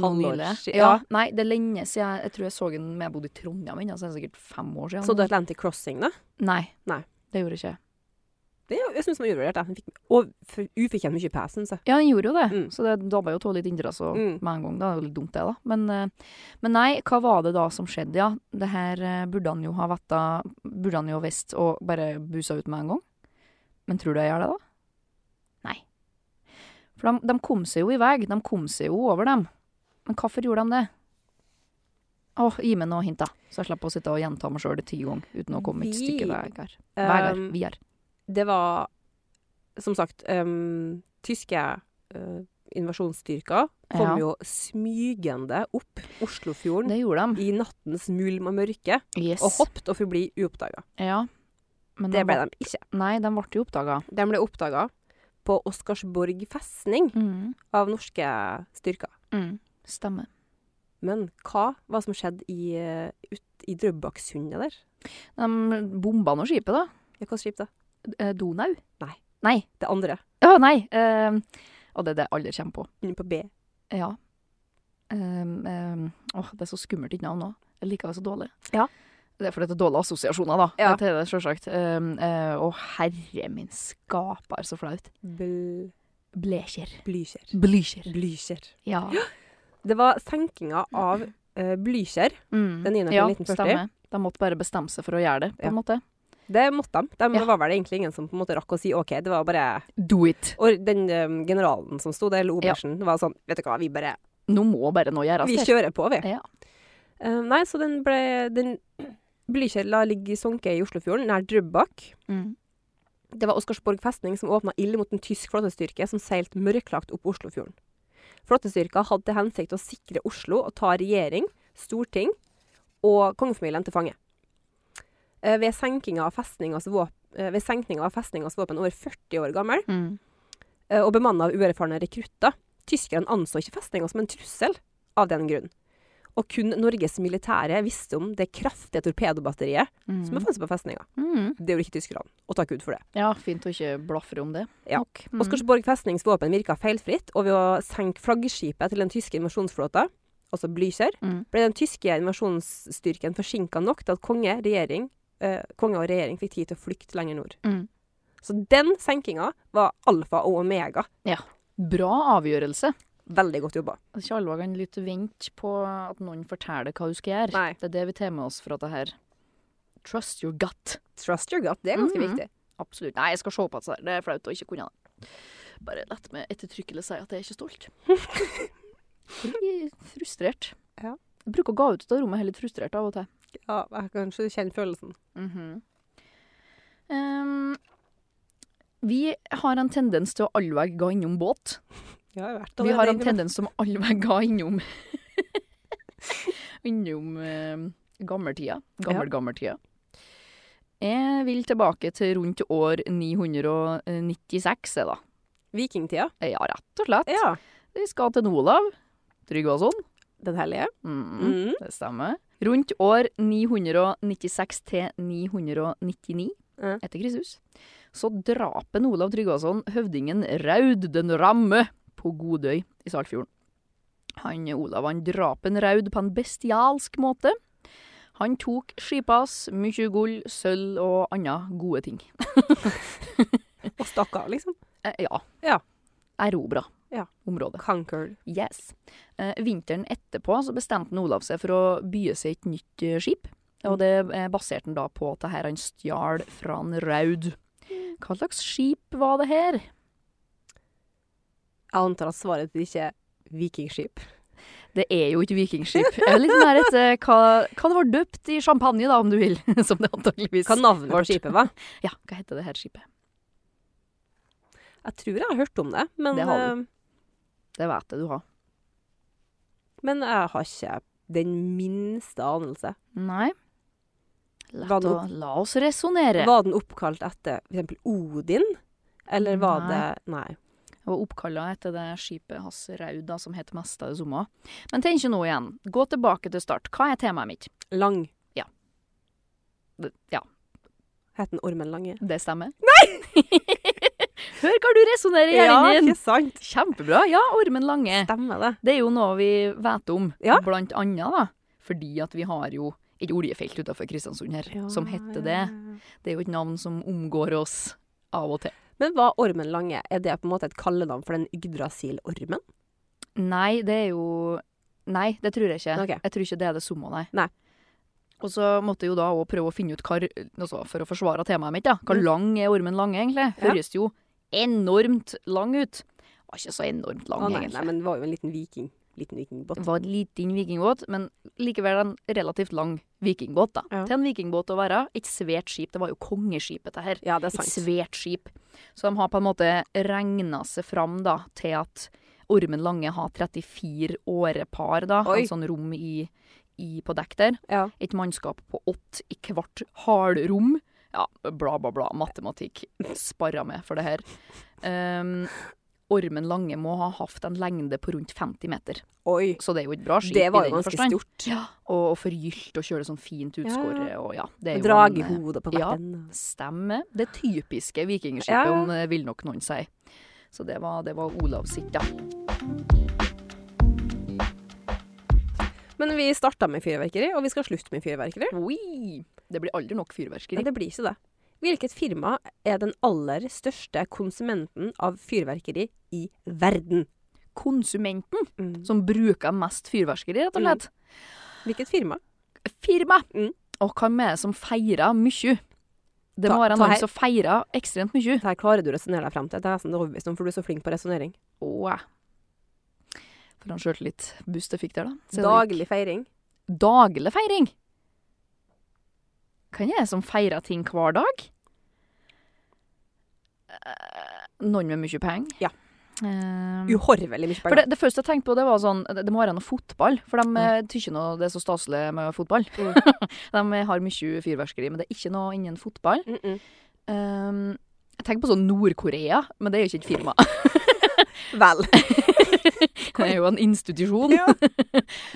Speaker 3: Halvår
Speaker 2: Nylig.
Speaker 3: siden,
Speaker 2: Ja.
Speaker 3: ja.
Speaker 2: Nei, det er lenge siden jeg, jeg tror jeg så den da jeg bodde i Trondheim ennå, så det er sikkert fem år siden.
Speaker 3: Så du Atlantic Crossing, da?
Speaker 2: Nei.
Speaker 3: Nei.
Speaker 2: Det gjorde ikke jeg.
Speaker 3: Det, jeg syns den var undervurdert. jeg. Den fikk- Og for- ufortjent mye pes, syns jeg.
Speaker 2: Ja, den gjorde jo det,
Speaker 3: Mm.
Speaker 2: så det dabba jo av litt interesse og-
Speaker 3: Mm.
Speaker 2: med en gang. da. Det er jo litt dumt, det, da. Men, eh, men nei, hva var det da som skjedde, ja? Det her eh, burde han jo ha vetta Burde han jo ha visst og bare busa ut med en gang? Men tror du jeg gjør det, da? Nei. For de, de kom seg jo i vei. De kom seg jo over dem. Men hvorfor gjorde de det? Å, gi meg noe hint, da, så jeg slipper å sitte og gjenta meg sjøl ti ganger uten å komme et
Speaker 3: Vi-
Speaker 2: stykke vei her. Vegard.
Speaker 3: Um,
Speaker 2: Vi er.
Speaker 3: det var, som sagt, um, tyske eh, invasjonsstyrker eh, kom
Speaker 2: Ja.
Speaker 3: jo smygende opp Oslofjorden
Speaker 2: Det gjorde de.
Speaker 3: i nattens mulm og mørke,
Speaker 2: Yes.
Speaker 3: og hoppet og forbli uoppdaga.
Speaker 2: Ja. Men
Speaker 3: Det
Speaker 2: de
Speaker 3: ble de ikke.
Speaker 2: Nei, de ble jo oppdaga.
Speaker 3: De ble oppdaga på Oscarsborg festning
Speaker 2: Mm.
Speaker 3: av norske styrker.
Speaker 2: Stemmer.
Speaker 3: Men hva var det som skjedde i, eh, ut i Drøbaksundet der?
Speaker 2: De bomba nå skipet, da.
Speaker 3: Ja, hva skip det?
Speaker 2: Eh, Donau?
Speaker 3: Nei.
Speaker 2: Nei.
Speaker 3: Det andre,
Speaker 2: Å, nei! eh, og det er det alle kommer på.
Speaker 3: inne på B.
Speaker 2: Ja. Um, um, åh, det er så skummelt ditt navn òg. Jeg liker det så dårlig.
Speaker 3: Ja.
Speaker 2: Det er fordi det er dårlige assosiasjoner, da.
Speaker 3: Ja.
Speaker 2: Det er det, selvsagt. Um, eh, å, herre min skaper, så flaut.
Speaker 3: Bl
Speaker 2: Blekjer.
Speaker 3: Blykjer.
Speaker 2: Blykjer.
Speaker 3: Blykjer.
Speaker 2: *gasps* Ja.
Speaker 3: Det var senkinga av uh, Blykjer.
Speaker 2: Mm.
Speaker 3: Den niende april
Speaker 2: ja,
Speaker 3: 1940.
Speaker 2: stemmer. De måtte bare bestemme seg for å gjøre det, på
Speaker 3: Ja.
Speaker 2: en måte.
Speaker 3: Det måtte de. Det
Speaker 2: Ja.
Speaker 3: var vel egentlig ingen som på en måte rakk å si OK. Det var bare
Speaker 2: Do it!
Speaker 3: Og den eh, generalen som sto der, eller
Speaker 2: Ja.
Speaker 3: obersten, var sånn Vet du hva, vi bare
Speaker 2: Nå må bare noe gjøres.
Speaker 3: Vi
Speaker 2: her.
Speaker 3: kjører på, vi.
Speaker 2: Ja.
Speaker 3: Eh, nei, så den ble Den Blykjer la ligge sunket i Oslofjorden, nær Drøbak.
Speaker 2: Mm.
Speaker 3: Det var Oscarsborg festning som åpna ild mot en tysk flåtestyrke som seilte mørklagt opp Oslofjorden. Flåtestyrka hadde til hensikt å sikre Oslo og ta regjering, storting og kongefamilien til fange. Eh, Ved senkinga av festningas våpen, ved senkninga av festningas våpen over 40 år gammel,
Speaker 2: Mm.
Speaker 3: eh, og bemanna av uerfarne rekrutter, Tyskerne anså ikke festninga som en trussel av den grunn. Og kun Norges militære visste om det kraftige torpedobatteriet som
Speaker 2: Mm.
Speaker 3: befant seg på festninga.
Speaker 2: Mm.
Speaker 3: Det gjorde ikke tyskerne, og takk Gud for det.
Speaker 2: Ja, fint å ikke blafre om det.
Speaker 3: Ja.
Speaker 2: Nok. Mm.
Speaker 3: Oscarsborg festnings våpen virka feilfritt, og ved å senke flaggskipet til den tyske invasjonsflåta, altså Blücher,
Speaker 2: Mm.
Speaker 3: ble den tyske invasjonsstyrken forsinka nok til at konge, regjering, eh, konge og regjering fikk tid til å flykte lenger nord.
Speaker 2: Mm.
Speaker 3: Så den senkinga var alfa og omega.
Speaker 2: Mm. Bra avgjørelse.
Speaker 3: Veldig godt jobba.
Speaker 2: Ikke alle kan lytte vente på at noen forteller hva du skal gjøre.
Speaker 3: Nei.
Speaker 2: Det er det vi tar med oss fra det her. Trust your gut.
Speaker 3: Trust your gut, det er ganske
Speaker 2: Mhm.
Speaker 3: viktig.
Speaker 2: Absolutt. Nei, jeg skal se på det her. Det er flaut å ikke kunne det. Bare lett meg ettertrykkelig si at jeg er ikke
Speaker 3: *laughs*
Speaker 2: stolt. Jeg er frustrert.
Speaker 3: Ja.
Speaker 2: Jeg bruker å gå ut av rommet helt frustrert av og til. Mhm.
Speaker 3: Ja, jeg kan ikke kjenne følelsen.
Speaker 2: Ehm, vi har en tendens til å allveg gå innom båt.
Speaker 3: Ja, jeg vet,
Speaker 2: Vi har en tendens som allveg ga innom *laughs* Innom eh, gammeltida. Gammel-gammeltida. Jeg vil tilbake til rundt år 996, jeg da.
Speaker 3: Vikingtida.
Speaker 2: Ja, rett og slett.
Speaker 3: Ja.
Speaker 2: Vi skal til Olav Tryggvason.
Speaker 3: Den hellige.
Speaker 2: Mm,
Speaker 3: Mm.
Speaker 2: Det stemmer. Rundt år 996 til 999
Speaker 3: Ja.
Speaker 2: etter Kristus, så drap en Olav Tryggvason høvdingen Raud den Ramme på Godøy i Saltfjorden. Han Olav han drap en Raud på en bestialsk måte. Han tok skipet hans, mye gull, sølv og andre gode ting.
Speaker 3: Og stakk av, liksom.
Speaker 2: Eh, ja.
Speaker 3: Ja.
Speaker 2: Erobra
Speaker 3: Ja.
Speaker 2: området.
Speaker 3: Conquered.
Speaker 2: Yes. Eh, vinteren etterpå så bestemte han Olav seg for å bye seg et nytt eh, skip.
Speaker 3: Mm.
Speaker 2: Og det eh, baserte han da på at det her han stjal fra en Raud.
Speaker 3: Mm.
Speaker 2: Hva slags skip var det her?
Speaker 3: Jeg antar at svaret ditt ikke er vikingskip.
Speaker 2: Det er jo ikke vikingskip. Jeg er litt mer etter hva, hva det var døpt i champagne, da, om du vil. *laughs* Som det antakeligvis
Speaker 3: Hva navnet på
Speaker 2: Vårt.
Speaker 3: skipet var?
Speaker 2: Ja, hva heter det her skipet?
Speaker 3: Jeg tror jeg har hørt om det, men,
Speaker 2: Det har
Speaker 3: eh,
Speaker 2: Det vet jeg du har.
Speaker 3: men jeg har ikke den minste anelse.
Speaker 2: Nei. Lett
Speaker 3: Hva
Speaker 2: å,
Speaker 3: nå?
Speaker 2: la oss resonnere.
Speaker 3: Var den oppkalt etter f.eks. Odin? Eller var
Speaker 2: Nei.
Speaker 3: det Nei.
Speaker 2: Jeg var oppkalla etter det skipet hans Raud, da, som het Mesta i sommer. Men tenk nå igjen. Gå tilbake til start. Hva er temaet mitt?
Speaker 3: Lang.
Speaker 2: Det- Ja,
Speaker 3: Het den Ormen Lange?
Speaker 2: det stemmer. Nei! *laughs* Hør hva du resonnerer i
Speaker 3: Ja,
Speaker 2: hjernen din!
Speaker 3: ikke sant?
Speaker 2: Kjempebra. Ja, Ormen Lange.
Speaker 3: Stemmer det.
Speaker 2: Det er jo noe vi vet om,
Speaker 3: Ja.
Speaker 2: blant annet, da. Fordi at vi har jo et oljefelt utenfor Kristiansund her, som heter det. Det er jo et navn som omgår oss av og til.
Speaker 3: Men hva Ormen Lange? Er det på en måte et kallenavn for den Yggdrasil-ormen?
Speaker 2: Nei, det er jo Nei, det tror jeg ikke.
Speaker 3: Ok.
Speaker 2: Jeg tror ikke det er det summa, nei.
Speaker 3: Nei.
Speaker 2: Og så måtte jeg jo da òg prøve å finne ut hva altså For å forsvare temaet mitt, da. Hvor
Speaker 3: Mm.
Speaker 2: lang er ormen Lange, egentlig?
Speaker 3: Ja.
Speaker 2: Høres jo enormt lang ut. Var ikke så enormt lang,
Speaker 3: Å nei,
Speaker 2: egentlig.
Speaker 3: nei, men det var jo en liten viking. Liten vikingbåt.
Speaker 2: Var en liten vikingbåt, men likevel en relativt lang vikingbåt, da.
Speaker 3: Ja.
Speaker 2: Til en vikingbåt å være. Et svært skip. Det var jo kongeskipet, det her.
Speaker 3: Ja, det er
Speaker 2: Et
Speaker 3: sant.
Speaker 2: svært skip. Så de har på en måte regna seg fram da, til at Ormen Lange har 34 årepar, da.
Speaker 3: Oi.
Speaker 2: En sånn rom i, i, på dekk der.
Speaker 3: Ja.
Speaker 2: Et mannskap på åtte i hvert halrom. Ja, bla, bla, bla. Matematikk. Sparra med for det her. Um, Ormen Lange må ha hatt en lengde på rundt 50 meter,
Speaker 3: Oi.
Speaker 2: så det er jo et bra skip.
Speaker 3: Det var
Speaker 2: i
Speaker 3: jo
Speaker 2: den
Speaker 3: ganske
Speaker 2: forstand.
Speaker 3: stort.
Speaker 2: Ja, og, og forgylt og kjøle sånn fint utskåret. Og ja, det er jo en, eh,
Speaker 3: Dragehode på hvert
Speaker 2: ja.
Speaker 3: ende.
Speaker 2: Stemmer. Det typiske vikingskipet,
Speaker 3: Ja, ja.
Speaker 2: om det vil nok noen si. Så det var, det var Olav sitt, ja.
Speaker 3: Men vi starta med fyrverkeri, og vi skal slutte med fyrverkeri.
Speaker 2: Oi! Det blir aldri nok fyrverkeri.
Speaker 3: Nei, det blir ikke det. Hvilket firma er den aller største konsumenten av fyrverkeri i verden?
Speaker 2: Konsumenten
Speaker 3: Mm.
Speaker 2: som bruker mest fyrverkeri, rett og slett.
Speaker 3: Hvilket firma?
Speaker 2: Firma!
Speaker 3: Mm.
Speaker 2: Og hvem er det som feirer mye? Det
Speaker 3: Ta-
Speaker 2: må være
Speaker 3: ta her.
Speaker 2: noen som feirer ekstremt mye.
Speaker 3: Dette klarer du å resonnere deg fram til. Det er jeg nesten overbevist om, for du er så flink på resonnering.
Speaker 2: Åh. For han skjørte litt buss det fikk der, da. Så det gikk-
Speaker 3: Daglig feiring.
Speaker 2: Daglig feiring. Hvem er det som feirer ting hver dag? Eh, Noen med mye penger.
Speaker 3: Ja. Mm.
Speaker 2: Eh,
Speaker 3: Uhorvelig mye
Speaker 2: for
Speaker 3: penger.
Speaker 2: det, det første jeg tenkte på, det var sånn Det det må være noe fotball. For de mm. tykker nå det er så staselig med fotball.
Speaker 3: Mm.
Speaker 2: de har mye fyrverkeri, men det er ikke noe innen fotball.
Speaker 3: Mm -mm. *laughs*
Speaker 2: Eh, jeg tenker på sånn Nord-Korea, men det er jo ikke et firma.
Speaker 3: *laughs* Vel.
Speaker 2: Det er jo en institusjon.
Speaker 3: *laughs* Ja.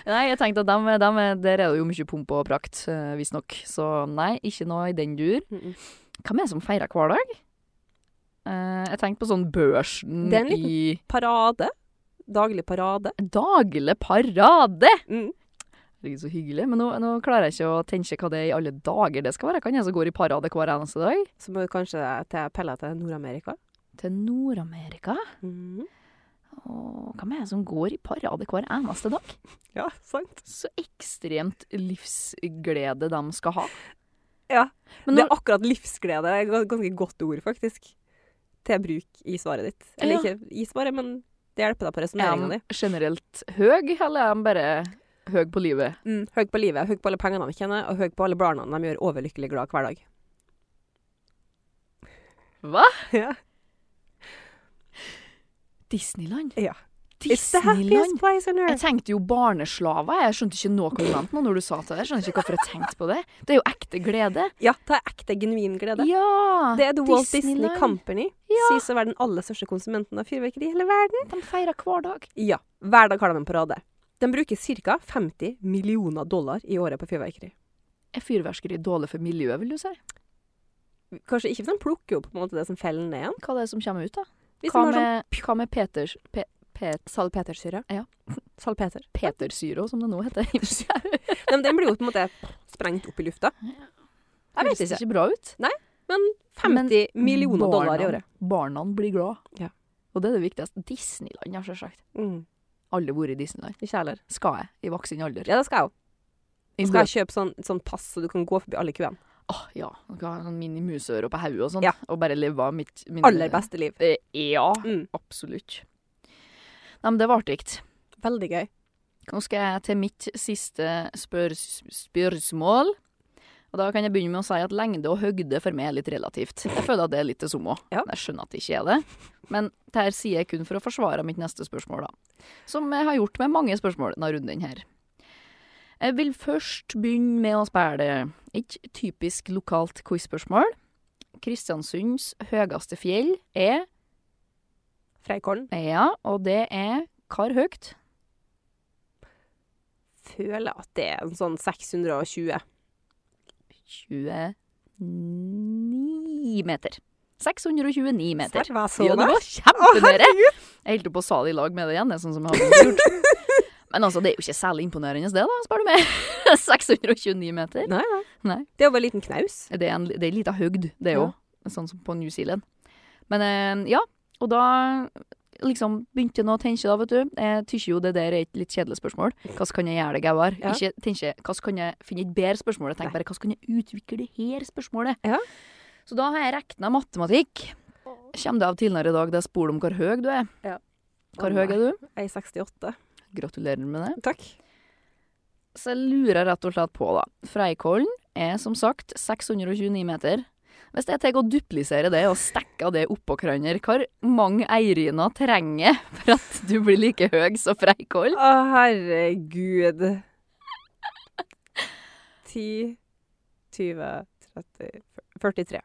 Speaker 2: nei, jeg tenkte at dem, dem, er- der er det jo mye pomp og prakt, eh, visstnok. Så nei, ikke noe i den dur.
Speaker 3: Mm-mm.
Speaker 2: Hvem er det som feirer hver dag? Eh, jeg tenkte på sånn børsen
Speaker 3: Det er en liten-
Speaker 2: i
Speaker 3: Parade. Daglig parade.
Speaker 2: Daglig parade!
Speaker 3: Mm.
Speaker 2: Herregud, så hyggelig. Men nå, nå klarer jeg ikke å tenke hva det i alle dager det skal være. Kan jeg som går i parade hver eneste dag?
Speaker 3: Så må vi kanskje til pelle til Nord-Amerika.
Speaker 2: Til Nord-Amerika?
Speaker 3: Mm.
Speaker 2: Åh, Hvem er det som går i parade hver eneste dag?
Speaker 3: Ja, sant.
Speaker 2: Så ekstremt livsglede de skal ha.
Speaker 3: Ja,
Speaker 2: Men
Speaker 3: Det
Speaker 2: når,
Speaker 3: er akkurat livsglede. Det er et gans- ganske godt ord, faktisk. Til bruk i svaret ditt. Eller
Speaker 2: Ja.
Speaker 3: ikke i svaret, men det hjelper deg på
Speaker 2: er
Speaker 3: resonneringa
Speaker 2: de
Speaker 3: di.
Speaker 2: generelt høy, eller er de bare høy på livet?
Speaker 3: Høy Mm, på livet, høy på alle pengene de tjener, og høy på alle barna de gjør overlykkelig glad hver dag.
Speaker 2: Hva?
Speaker 3: Ja.
Speaker 2: Disneyland?
Speaker 3: Ja. It's the happiest
Speaker 2: Disneyland?
Speaker 3: place on
Speaker 2: Jeg
Speaker 3: earth.
Speaker 2: tenkte jo barneslaver. Jeg skjønte ikke noe du mente nå når du sa det der. Skjønner ikke hvorfor jeg tenkte på det. Det er jo ekte glede.
Speaker 3: Ja, det er ekte, genuin glede.
Speaker 2: Ja!
Speaker 3: Det er The Walt Disney
Speaker 2: Disneyland.
Speaker 3: Company.
Speaker 2: Ja.
Speaker 3: Sies å være den aller største konsumenten av fyrverkeri i hele verden.
Speaker 2: De feirer hver dag.
Speaker 3: Ja, hver dag har de en parade. De bruker ca. 50 millioner dollar i året på fyrverkeri.
Speaker 2: Er fyrverkeri dårlig for miljøet, vil du si?
Speaker 3: Kanskje ikke hvis de plukker opp på en måte det som feller ned igjen.
Speaker 2: Hva er det som kommer ut, da? Hva
Speaker 3: Hvis de har sånn
Speaker 2: med, hva med Peters, pe, pet,
Speaker 3: salpetersyre.
Speaker 2: Ja.
Speaker 3: *laughs* Salpeter.
Speaker 2: Petersyro, som det nå heter? *laughs*
Speaker 3: Nei, men den blir jo på en måte sprengt opp i lufta. Jeg vet
Speaker 2: Høres
Speaker 3: ikke.
Speaker 2: ikke bra ut.
Speaker 3: Men 50 millioner dollar i året.
Speaker 2: Barna blir glad.
Speaker 3: Ja.
Speaker 2: Og det er det viktigste. Disneyland, har selvsagt.
Speaker 3: Mm,
Speaker 2: Alle har vært i Disneyland.
Speaker 3: ikke jeg heller.
Speaker 2: Skal jeg, i voksen alder.
Speaker 3: Ja, det skal jeg òg.
Speaker 2: I
Speaker 3: Skal jeg kjøpe sånn, sånn pass så du kan gå forbi alle køene.
Speaker 2: Åh, ja. Du kan ha sånn mini museøre på hodet og sånn.
Speaker 3: Ja.
Speaker 2: Og bare leve av mitt min,
Speaker 3: Aller beste liv.
Speaker 2: Eh, ja,
Speaker 3: Mm.
Speaker 2: absolutt. Nei, men det var artig.
Speaker 3: Veldig gøy.
Speaker 2: Nå skal jeg til mitt siste spør spørsmål. Og da kan jeg begynne med å si at lengde og høgde for meg er litt relativt. Jeg føler at det er litt det samme.
Speaker 3: Ja.
Speaker 2: Jeg skjønner at det ikke er det. Men det her sier jeg kun for å forsvare mitt neste spørsmål, da. Som jeg har gjort med mange spørsmål denne runden her. Jeg vil først begynne med å spørre et typisk lokalt quiz-spørsmål. Kristiansunds høyeste fjell er
Speaker 3: Freikollen.
Speaker 2: Ja, og det er Hvor høyt?
Speaker 3: Føler at det er en sånn 620.
Speaker 2: 29 meter. 629 meter.
Speaker 3: Svar, hva så
Speaker 2: Ja, det
Speaker 3: der?
Speaker 2: var kjempenære! Jeg holdt på å sa det i lag med deg igjen, det er sånn som jeg hadde *laughs* gjort. Men altså, det er jo ikke særlig imponerende det, da, spør du meg. *laughs* 629 meter.
Speaker 3: Nei, nei.
Speaker 2: Nei.
Speaker 3: Det er jo bare en liten knaus.
Speaker 2: Det er en, det er en liten høgd, det òg. Sånn som på New Zealand. Men eh, ja, og da liksom begynte jeg nå å tenke, da, vet du. Jeg tykker jo det der er et litt kjedelig spørsmål. Hvordan kan jeg gjøre det gauer?
Speaker 3: Ja.
Speaker 2: Ikke tenke hvordan kan jeg finne et bedre spørsmål. Jeg
Speaker 3: Nei.
Speaker 2: tenker bare hvordan kan jeg utvikle det her spørsmålet?
Speaker 3: Ja.
Speaker 2: Så da har jeg regna matematikk. Kjem det av tidligere i dag det er spurt om hvor høy du er?
Speaker 3: Ja.
Speaker 2: Hvor høy er du?
Speaker 3: Jeg er 68.
Speaker 2: Gratulerer med det.
Speaker 3: Takk.
Speaker 2: Så jeg lurer rett og slett på, da. Freikollen er som sagt 629 meter. Hvis jeg tar og dupliserer det og stekker det oppå hverandre, hvor mange Eirina trenger for at du blir like høy som Freikollen?
Speaker 3: Å, herregud. 10, 20, 30, 43.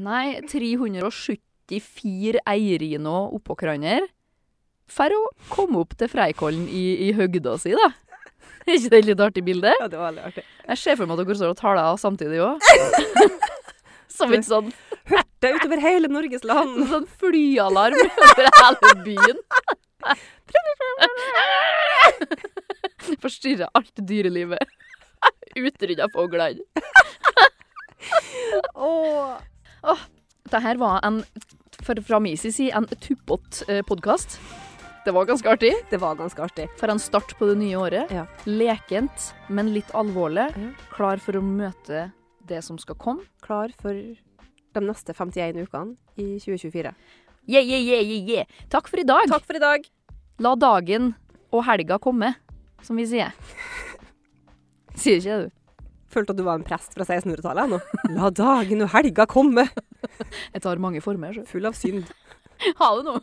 Speaker 2: Nei, 374 Eirina oppå hverandre for å komme opp til Freikollen i, i høgda si, da. Er ikke det et litt artig bilde?
Speaker 3: Ja, det var veldig artig.
Speaker 2: Jeg ser for meg at dere står og taler samtidig òg. Som et sånn
Speaker 3: Det er utover hele Norges land.
Speaker 2: En sånn flyalarm over hele byen. Forstyrrer alt dyrelivet. Utrydda fuglene.
Speaker 3: Åh.
Speaker 2: Dette her var en, for, fra min side, en tuppete podkast. Det var ganske artig.
Speaker 3: Det var ganske artig.
Speaker 2: For en start på det nye året.
Speaker 3: Ja.
Speaker 2: Lekent, men litt alvorlig.
Speaker 3: Ja.
Speaker 2: Klar for å møte det som skal komme.
Speaker 3: Klar for de neste 51 ukene i 2024.
Speaker 2: Yeah, yeah, yeah, yeah, yeah. Takk for i dag.
Speaker 3: Takk for i dag.
Speaker 2: La dagen og helga komme, som vi *laughs* sier. Sier ikke det, du?
Speaker 3: Følte at du var en prest fra 1600-tallet nå. La dagen og helga komme,
Speaker 2: Jeg tar mange former, så.
Speaker 3: full av synd.
Speaker 2: Ha det nå.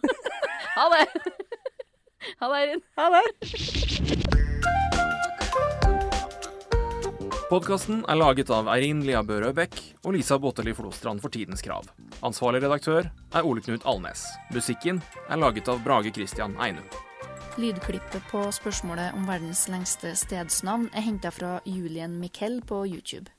Speaker 2: Ha det. Ha det, Eirin.
Speaker 3: Ha det.
Speaker 1: Podkasten er laget av Eirin Lia Bø Røbekk og Lisa Botteli Flostrand for Tidens Krav. Ansvarlig redaktør er Ole Knut Alnes. Musikken er laget av Brage Christian Einum.
Speaker 2: Lydklippet på spørsmålet om verdens lengste stedsnavn er henta fra Julian Miquel på YouTube.